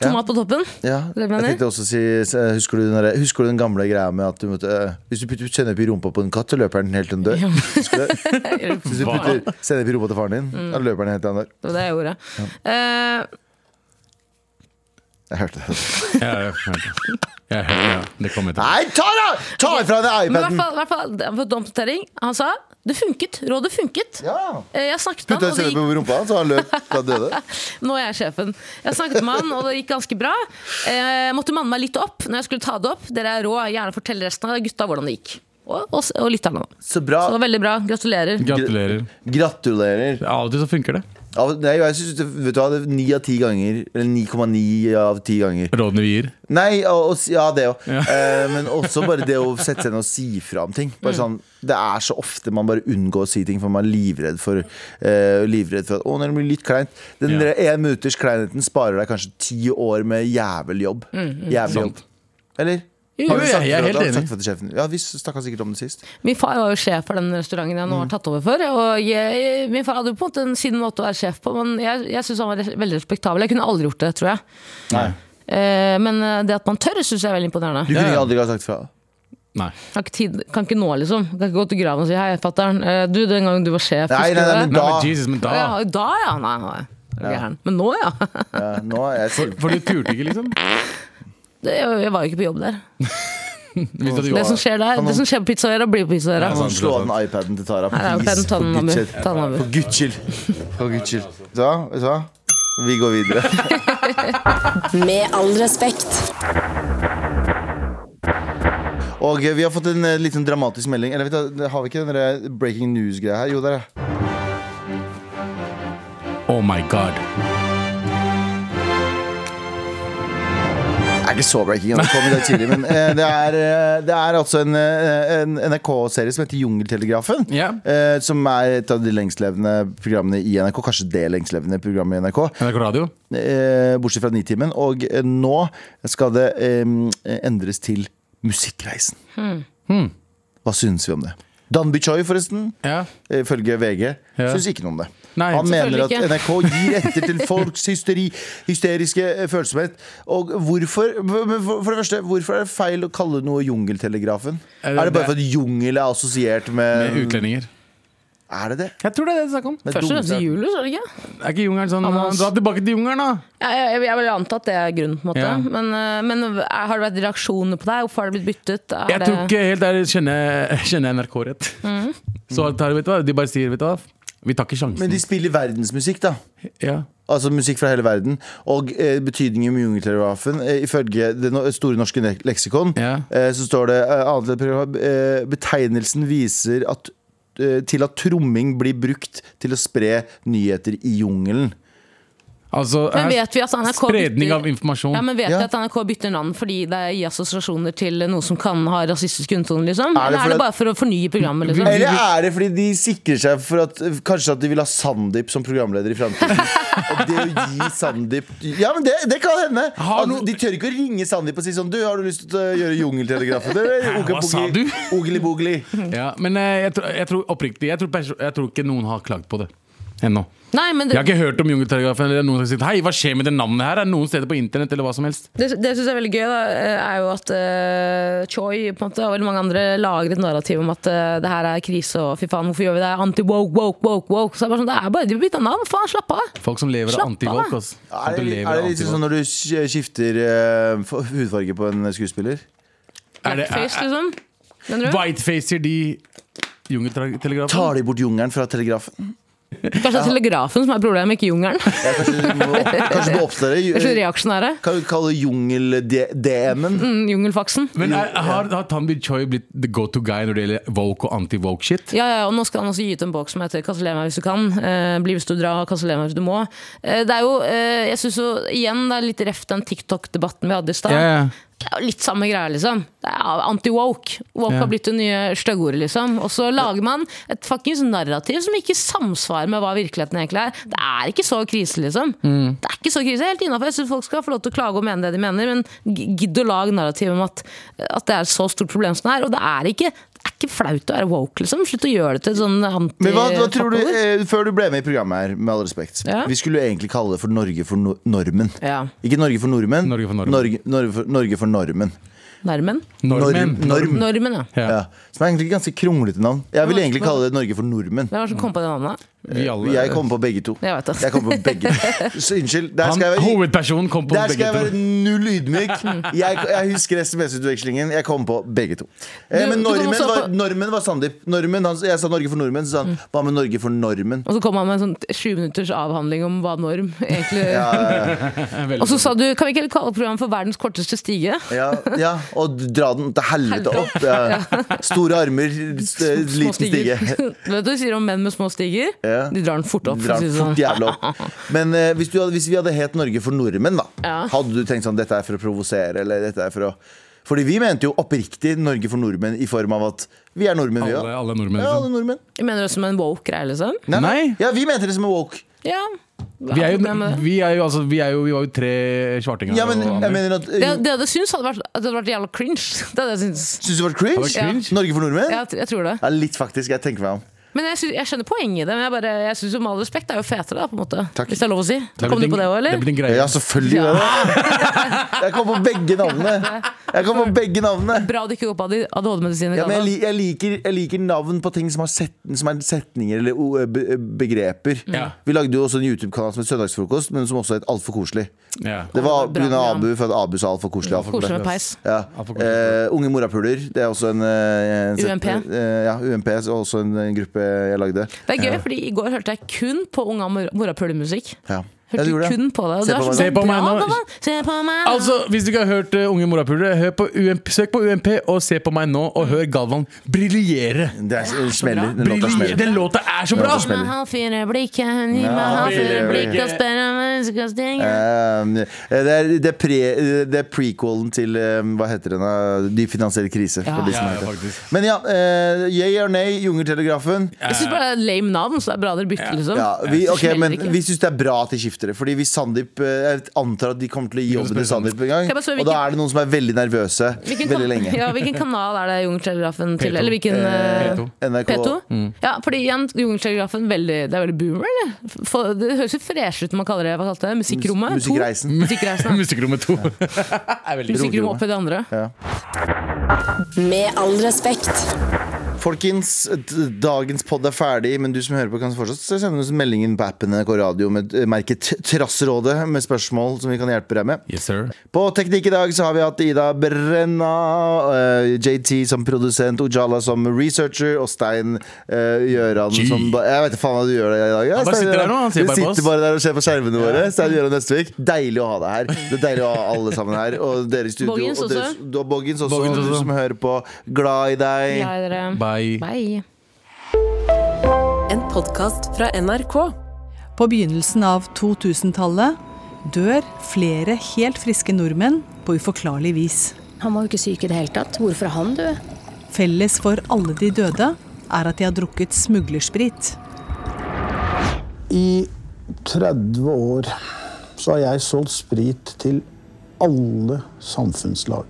Speaker 3: Tomat på toppen.
Speaker 2: Ja,
Speaker 3: Det
Speaker 2: jeg
Speaker 3: mener jeg.
Speaker 2: tenkte også å si se, Husker du den, der, husker du den gamle greia med at du måtte eh, Hvis du putter sennep i rumpa på en katt, så løper den helt til den dør. Husker du det? Hvis du putter sennep i rumpa til faren din,
Speaker 3: Mm.
Speaker 2: da løper den helt til han dør.
Speaker 3: Det var det jeg gjorde. Eh,
Speaker 2: Jeg hørte det.
Speaker 4: Ja, ja, ja. Ja, ja, det kom etter.
Speaker 2: Nei, Tara! Ta ifra deg
Speaker 3: men i hvert
Speaker 2: iPaden!
Speaker 3: fall, i hvert fall jeg har fått en oppdatering. Han sa det funket. Rådet funket.
Speaker 2: Ja.
Speaker 3: Eh, Jeg snakket med
Speaker 2: Putta
Speaker 3: han, og
Speaker 2: en
Speaker 3: det
Speaker 2: sennep
Speaker 3: gikk
Speaker 2: i rumpa, så han løp da han døde.
Speaker 3: Nå er jeg sjefen. Jeg snakket med han, og det gikk ganske bra. Eh, Jeg måtte manne meg litt opp når jeg skulle ta det opp. Dere er rå. Gjerne fortell resten av gutta hvordan det gikk. Og, og, og lytterne. da.
Speaker 2: Så
Speaker 3: Så det
Speaker 2: bra.
Speaker 3: var veldig bra. Gratulerer.
Speaker 4: Gratulerer.
Speaker 2: Gratulerer.
Speaker 4: Ja, Av og til så funker det.
Speaker 2: Ja, nei, jeg synes, det- vet du hva, det er 9 av 10 ganger Eller 9,9 av 10 ganger
Speaker 4: Rådene vi gir.
Speaker 2: Nei, og, og, ja det jo
Speaker 4: Ja.
Speaker 2: eh, Men også bare det å sette seg ned og si fra om ting
Speaker 4: Mm.
Speaker 2: Bare sånn, det er så ofte man bare unngår å si ting For man er livredd for eh, Livredd for at, å når det blir litt kleint Den
Speaker 4: Ja.
Speaker 2: der en minutters kleinheten sparer deg kanskje 10 år med jævel jobb Jævel
Speaker 4: Sant.
Speaker 2: jobb Eller?
Speaker 4: Jo,
Speaker 2: Har du
Speaker 4: jo,
Speaker 2: sagt
Speaker 4: jeg er
Speaker 2: fra-
Speaker 4: helt
Speaker 2: har du
Speaker 4: enig.
Speaker 2: sagt fra til sjefen? Ja, vi snakket sikkert om det sist
Speaker 3: Min far var jo sjef for den restauranten jeg nå
Speaker 2: Mm.
Speaker 3: har tatt over for. Og jeg, min far hadde jo på en måte en sin måte å være sjef på, men jeg, jeg syns han var res- veldig respektabel. Jeg kunne aldri gjort det, tror jeg. Eh, Men eh, det at man tør, syns jeg er veldig imponerende.
Speaker 2: Du
Speaker 4: Ja.
Speaker 2: kunne ikke aldri ha sagt fra
Speaker 4: Nei.
Speaker 3: Jeg har ikke tid, kan ikke nå, liksom. Jeg kan ikke gå til graven og si 'hei, fatter'n, eh, du, den gangen du var sjef',
Speaker 2: Nei, nei,
Speaker 3: husker du
Speaker 2: nei,
Speaker 3: det?"
Speaker 2: men
Speaker 4: Nei,
Speaker 2: da
Speaker 4: men Jesus, men da
Speaker 3: Ja, da ja. Nei, nei. Er du gæren? Men nå, ja.
Speaker 2: ja, Nå er jeg selv
Speaker 4: For du turte ikke, liksom?
Speaker 3: Det, jeg var jo ikke på jobb der.
Speaker 4: Hvis du hadde
Speaker 3: Det
Speaker 4: gjort
Speaker 3: som skjer der,
Speaker 2: Kan man-
Speaker 3: det som skjer på Pizzaøyra, blir på Pizzaøyra.
Speaker 2: Kan
Speaker 4: sant,
Speaker 2: noen slå
Speaker 4: det
Speaker 2: av
Speaker 4: er
Speaker 2: den iPaden til Tara?
Speaker 3: Her er jo
Speaker 2: please?
Speaker 3: den
Speaker 2: For Guds
Speaker 3: tannabu.
Speaker 2: skyld. For Guds skyld. For Guds skyld. Så, vet du hva? Vi går videre.
Speaker 1: Med all respekt.
Speaker 2: Og eh, vi har fått en eh, liten dramatisk melding. Eller vet du, Har vi ikke den der eh, breaking news-greia her? Jo, der er
Speaker 4: Oh my god.
Speaker 2: Det er ikke så breaking, altså. det kom i dag tidlig, men eh, det er, eh, det er altså en, eh, en NRK-serie som heter Jungeltelegrafen.
Speaker 4: Ja.
Speaker 2: eh, Som er et av de lengstlevende programmene i NRK. Kanskje det lengstlevende programmet i NRK.
Speaker 4: NRK Radio?
Speaker 2: eh, Bortsett fra Nitimen. Og eh, nå skal det eh, endres til Musikkreisen.
Speaker 3: Hmm.
Speaker 2: Hmm. Hva syns vi om det? Danby Choi, forresten. eh,
Speaker 4: Ja.
Speaker 2: Ifølge VG
Speaker 4: Ja.
Speaker 2: syns ikke noe om det.
Speaker 4: Nei,
Speaker 2: Han mener at
Speaker 3: selvfølgelig
Speaker 2: NRK gir etter til folks hysteri, hysteriske eh, følsomhet. Og hvorfor for- For det første, hvorfor er det feil å kalle noe Jungeltelegrafen? Er
Speaker 4: Eh,
Speaker 2: det
Speaker 4: det-
Speaker 2: bare fordi jungel er assosiert med,
Speaker 4: Med utlendinger.
Speaker 2: Er det det?
Speaker 4: Jeg tror det er det det er snakk om.
Speaker 2: Med
Speaker 3: Først og
Speaker 2: dummeste-
Speaker 3: fremst i juli, så er det ikke?
Speaker 4: Er ikke jungelen sånn
Speaker 3: Hamas.
Speaker 4: Dra tilbake til jungelen, da!
Speaker 3: Jeg, jeg, jeg vil anta at det er grunnen, på en måte.
Speaker 4: Ja.
Speaker 3: Men, eh, men eh, har det vært reaksjoner på deg? Hvorfor har det blitt byttet? Er det...
Speaker 4: Jeg
Speaker 3: Mm.
Speaker 4: tror ikke helt der kjenner, kjenner NRK rett. Så alt her, vet du hva? de bare sier vet du hva? Vi tar ikke sjansen.
Speaker 2: Men de spiller verdensmusikk, da.
Speaker 4: ja.
Speaker 2: Altså musikk fra hele verden. Og eh, betydningen med jungeltelegrafen. Eh, ifølge det no store norske ne- leksikon
Speaker 4: Ja.
Speaker 2: eh, så står det eh, annet enn program, eh, Betegnelsen viser at, eh, til at tromming blir brukt til å spre nyheter i jungelen.
Speaker 4: Altså,
Speaker 3: Men
Speaker 4: her-
Speaker 3: vet vi at NRK
Speaker 4: spredning
Speaker 3: bytter-
Speaker 4: av informasjon.
Speaker 3: Ja, men Vet
Speaker 2: Ja.
Speaker 3: vi at NRK bytter navn fordi det gir assosiasjoner til noe som kan ha rasistisk undertone? Liksom?
Speaker 2: Er det
Speaker 3: Eller
Speaker 2: for
Speaker 3: er det
Speaker 2: at-
Speaker 3: bare for å fornye programmet? Liksom?
Speaker 2: Eller er det fordi de sikrer seg for at eh, kanskje at de vil ha Sandeep som programleder i framtiden? Og det å gi Sandeep Ja, men det, det kan hende!
Speaker 4: Har
Speaker 2: At
Speaker 4: no-
Speaker 2: de tør ikke å ringe Sandeep og si sånn Du, har du lyst til å gjøre Jungeltelegrafen?
Speaker 4: Hva sa du?
Speaker 2: Ogeli-bogeli.
Speaker 4: Ja, men eh, jeg, tror, jeg tror oppriktig jeg tror, perso- jeg tror ikke noen har klagd på det ennå.
Speaker 3: Nei, men det,
Speaker 4: Jeg har ikke hørt om jungeltelegrafen eller noen som har sagt Hei, hva skjer med det navnet her? Er det noen steder på internett eller hva som helst?
Speaker 3: det, det synes jeg er veldig gøy, da, er jo at eh, Choi på en måte, og veldig mange andre lager et narrativ om at eh, det her er krise og fy faen, hvorfor gjør vi det? Anti-woke, woke, woke, woke. Så det er bare sånn, det er bare de bytter navn, faen, slapp av!
Speaker 4: Folk som lever
Speaker 3: Slapp
Speaker 4: av
Speaker 3: av,
Speaker 4: antivolk.
Speaker 3: da.
Speaker 4: ass.
Speaker 2: Er
Speaker 4: Folk som
Speaker 2: det,
Speaker 4: lever
Speaker 2: er
Speaker 4: av
Speaker 2: det liksom
Speaker 4: antivolk.
Speaker 2: sånn når du sk- skifter eh, f- hudfarge på en skuespiller?
Speaker 4: Er det-
Speaker 3: Blackface,
Speaker 4: er-
Speaker 3: liksom. Skjønner du?
Speaker 4: Whitefacer de jungeltelegrafen?
Speaker 2: sånn- Tar de bort jungelen fra
Speaker 3: Mm.
Speaker 2: telegrafen?
Speaker 3: Kanskje det er telegrafen som er problemet, ikke jungelen.
Speaker 2: Ja, kanskje du må, kanskje du må oppdatere
Speaker 3: Kanskje
Speaker 2: ju-
Speaker 3: reaksjonære.
Speaker 2: Kan du kalle jungel-DM-en?
Speaker 3: Mm, Jungelfaksen.
Speaker 4: Men er, har, har Tanbi Choi blitt the go to guy når det gjelder woke og anti-woke-shit?
Speaker 3: Ja, ja, og nå skal han også gi ut en bok som heter 'Kanseller meg hvis du kan'. Eh, bli hvis du drar, kanseller meg hvis du må. Eh, det er jo, eh, jeg synes jo, igjen, det er litt reft den TikTok-debatten vi hadde i stad. Det er jo Litt samme greia, liksom. Det er Anti-woke. Woke
Speaker 4: Ja.
Speaker 3: har blitt det nye styggordet, liksom. Og så lager man et fuckings narrativ som ikke samsvarer med hva virkeligheten egentlig er. Det er ikke så krise, liksom.
Speaker 2: Mm.
Speaker 3: Det er ikke så krise. Helt innafor. Jeg syns folk skal få lov til å klage og mene det de mener, men gi- gidd å lage narrativ om at, at det er et så stort problem som det er. Og det er ikke, det er ikke flaut å være woke, liksom. Slutt å gjøre det til et sånn anti
Speaker 2: Men hva, hva tror du, eh, Før du ble med i programmet her, med all respekt
Speaker 3: Ja.
Speaker 2: Vi skulle jo egentlig kalle det for Norge for no normen.
Speaker 3: Ja.
Speaker 2: Ikke Norge for nordmenn.
Speaker 4: Norge for normen.
Speaker 2: Norge, Norge for, Norge for normen.
Speaker 3: Nærmen?
Speaker 4: Nordmenn.
Speaker 2: Norm, norm.
Speaker 3: Normen, ja.
Speaker 4: Ja.
Speaker 2: Ja. Som er egentlig et ganske kronglete navn. Jeg vil egentlig kalle det Norge for nordmenn.
Speaker 3: Hvem var det som kom på det navnet?
Speaker 4: Vi alle.
Speaker 2: Jeg kom på begge to.
Speaker 3: Jeg vet det.
Speaker 2: Jeg kom på begge to. Så unnskyld. Der
Speaker 4: Han,
Speaker 2: skal jeg være
Speaker 4: hovedpersonen kom på
Speaker 2: Der skal
Speaker 4: begge
Speaker 2: jeg være
Speaker 4: to.
Speaker 2: null ydmyk. Jeg, jeg husker SMS-utvekslingen. Jeg kom på begge to. Eh,
Speaker 3: Du-
Speaker 2: men
Speaker 3: du kom
Speaker 2: normen
Speaker 3: også Mm.
Speaker 2: var,
Speaker 3: på-
Speaker 2: normen var Sandeep. Normen, han, jeg sa Norge for nordmenn, så sa han hva med Norge for normen?
Speaker 3: Og så kom han med en sånn sju minutters avhandling om hva norm egentlig
Speaker 2: Ja,
Speaker 3: Og så sa du kan vi ikke heller kalle programmet for verdens korteste stige?
Speaker 2: ja, ja, og dra den til helvete opp. Ja. Store armer, st
Speaker 3: Små
Speaker 2: liten stige.
Speaker 3: Vet du hva de sier om menn med små stiger?
Speaker 2: Ja.
Speaker 3: De drar den fort opp.
Speaker 2: Dra
Speaker 3: for å si
Speaker 2: den
Speaker 3: det
Speaker 2: fort
Speaker 3: sånn.
Speaker 2: jævla opp. Men eh, hvis, du hadde, hvis vi hadde het Norge for nordmenn, da,
Speaker 3: Ja.
Speaker 2: hadde du tenkt sånn dette er for å provosere, eller dette er for å Fordi vi mente jo oppriktig Norge for nordmenn i form av at vi er nordmenn, vi
Speaker 4: Alle,
Speaker 2: òg.
Speaker 4: alle nordmenn.
Speaker 2: Ja, alle
Speaker 4: Liksom.
Speaker 2: nordmenn.
Speaker 3: Jeg mener det som en woke-greie, liksom.
Speaker 2: Nei, nei.
Speaker 4: Nei.
Speaker 2: Ja, vi mente det som er woke.
Speaker 3: Ja.
Speaker 4: Vi, er jo,
Speaker 3: Problemet-
Speaker 4: vi, er jo, altså, vi, er jo, vi var jo tre svartinger.
Speaker 2: Ja, men
Speaker 4: og andre.
Speaker 2: jeg mener at
Speaker 3: det,
Speaker 2: eh,
Speaker 3: det jeg hadde syntes, hadde vært, at det hadde vært jævla cringe. Det hadde jeg syntes.
Speaker 2: Syns du det var cringe?
Speaker 4: Det var cringe.
Speaker 2: Ja. Norge for nordmenn?
Speaker 3: Ja,
Speaker 2: Ja.
Speaker 3: jeg, jeg tror det.
Speaker 2: litt faktisk. Jeg tenker meg om.
Speaker 3: Men jeg, sy- jeg skjønner poenget i det. Men jeg, bare, jeg syns jo med all respekt det er jo fetere, da, på en måte.
Speaker 2: Takk.
Speaker 3: Hvis det er lov å si.
Speaker 4: Det er
Speaker 3: Kom
Speaker 4: blitt
Speaker 3: du på
Speaker 4: en-
Speaker 3: det òg,
Speaker 4: Det er
Speaker 3: eller?
Speaker 4: blitt en greie.
Speaker 2: Ja, selvfølgelig.
Speaker 3: Ja.
Speaker 2: det da. Jeg kom på begge navnene. Jeg kom på begge navnene
Speaker 3: Bra du ikke går på AD- ADHD-medisin i
Speaker 2: ja, men jeg,
Speaker 3: Canada.
Speaker 2: li- jeg, liker, jeg liker navn på ting som, har set, som er setninger eller o- eh, be- begreper.
Speaker 4: Ja.
Speaker 2: Vi lagde jo også en YouTube-kanal som het Søndagsfrokost, men som også het Altfor koselig.
Speaker 4: Ja.
Speaker 2: Det var
Speaker 3: bra
Speaker 2: pga.
Speaker 3: program.
Speaker 2: Abu, for at Abu sa altfor koselig. alt for
Speaker 3: Koselig med
Speaker 2: koselig.
Speaker 3: peis.
Speaker 2: Ja.
Speaker 4: Altfor koselig.
Speaker 2: Eh, unge morapuler. Det er også en, eh, en set-
Speaker 3: UMP.
Speaker 2: Eh, ja, UMP er også en, en gruppe jeg lagde.
Speaker 3: Det er gøy, fordi i går hørte jeg kun på Unga Mora- Morapulemusikk.
Speaker 2: Ja. Ja,
Speaker 3: Hørte
Speaker 2: du gjorde det.
Speaker 3: kun på deg. og
Speaker 2: Se
Speaker 3: du
Speaker 2: på
Speaker 3: er så
Speaker 2: meg
Speaker 4: nå. Se på
Speaker 3: bra,
Speaker 4: meg nå.
Speaker 3: Galvan. Se på meg nå.
Speaker 4: Altså, Hvis du ikke har hørt eh, Unge morapulere, hør på UMP, søk på UMP og se på meg nå, og hør Galvan briljere.
Speaker 2: Det er, smeller. Den låta
Speaker 4: Briljere.
Speaker 2: smeller.
Speaker 4: Den låta er så bra!
Speaker 2: Den låta
Speaker 3: Gi meg
Speaker 2: smeller.
Speaker 3: halvfire blikk, eh, gi meg halvfire blikk, og spør om jeg skal stinge.
Speaker 2: Um, det, er, det, er pre, det er prequelen til um, Hva heter den? uh, Dyp finansiell krise. for de som vet
Speaker 4: Ja, ja,
Speaker 2: det.
Speaker 4: faktisk.
Speaker 2: Men ja, uh, yay or nay, Jungeltelegrafen.
Speaker 3: Jeg syns bare det er et lame navn, så det er bra dere bytter, liksom.
Speaker 2: Eh, Ja, vi, ok,
Speaker 3: Smeller
Speaker 2: men
Speaker 3: ikke.
Speaker 2: vi syns det er bra at de skifter det. Fordi hvis Sandeep eh, Jeg antar at de kommer til å gi jobben til Sandeep en gang.
Speaker 3: jeg bare spørre
Speaker 2: Og da
Speaker 3: hvilken-
Speaker 2: er det noen som er veldig nervøse
Speaker 3: Hvilken
Speaker 2: veldig
Speaker 3: kan-
Speaker 2: lenge.
Speaker 3: Ja, hvilken kanal er det Jungeltelegrafen til?
Speaker 4: P2.
Speaker 3: Eller hvilken eh,
Speaker 4: P2.
Speaker 2: NRK.
Speaker 3: P2? Ja, fordi igjen, Jungeltelegrafen veldig, det er veldig boomer, eller? For, det høres jo fresh ut når man kaller det, hva kalte det? Musikkrommet? to?
Speaker 2: Musikkreisen.
Speaker 3: Musikkreisen, ja.
Speaker 4: Musikkrommet 2. er veldig bra.
Speaker 3: Musikkrommet oppi det andre.
Speaker 1: Med all respekt.
Speaker 2: Folkens, d- dagens pod er ferdig, men du som hører på, kan fortsatt sende oss meldingen på appen NRK Radio med eh, merket Trassrådet med spørsmål som vi kan hjelpe deg med.
Speaker 4: Yes, sir.
Speaker 2: På Teknikk i dag så har vi hatt Ida Brenna, eh, JT som produsent, Ojala som researcher og Stein eh, Gjøran
Speaker 4: Gee.
Speaker 2: som ba- Jeg vet ikke faen hva du gjør der i dag. Ja,
Speaker 4: Han bare
Speaker 2: Stein
Speaker 4: sitter
Speaker 2: Gjøran.
Speaker 4: der nå, han ser
Speaker 2: Du
Speaker 4: bare på oss.
Speaker 2: sitter bare der og ser på skjermene våre. Stein Gjøran Nøstvik. Deilig å ha deg her. Det er deilig å ha alle sammen her. Og dere i studio.
Speaker 3: Boggins
Speaker 2: og dere-
Speaker 3: også.
Speaker 2: og Boggins også.
Speaker 4: Boggins
Speaker 2: og Du
Speaker 4: også.
Speaker 2: som hører på. Glad i deg.
Speaker 3: Ja, dere.
Speaker 4: Bye.
Speaker 3: Bye.
Speaker 9: En podkast fra NRK.
Speaker 10: På begynnelsen av 2000-tallet dør flere helt friske nordmenn på uforklarlig vis.
Speaker 1: Han var jo ikke syk i det hele tatt. Hvorfor er han død?
Speaker 10: Felles for alle de døde er at de har drukket smuglersprit.
Speaker 11: I 30 år så har jeg solgt sprit til alle samfunnslag.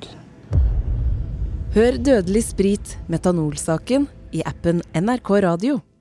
Speaker 9: Hør Dødelig sprit, metanolsaken, i appen NRK Radio.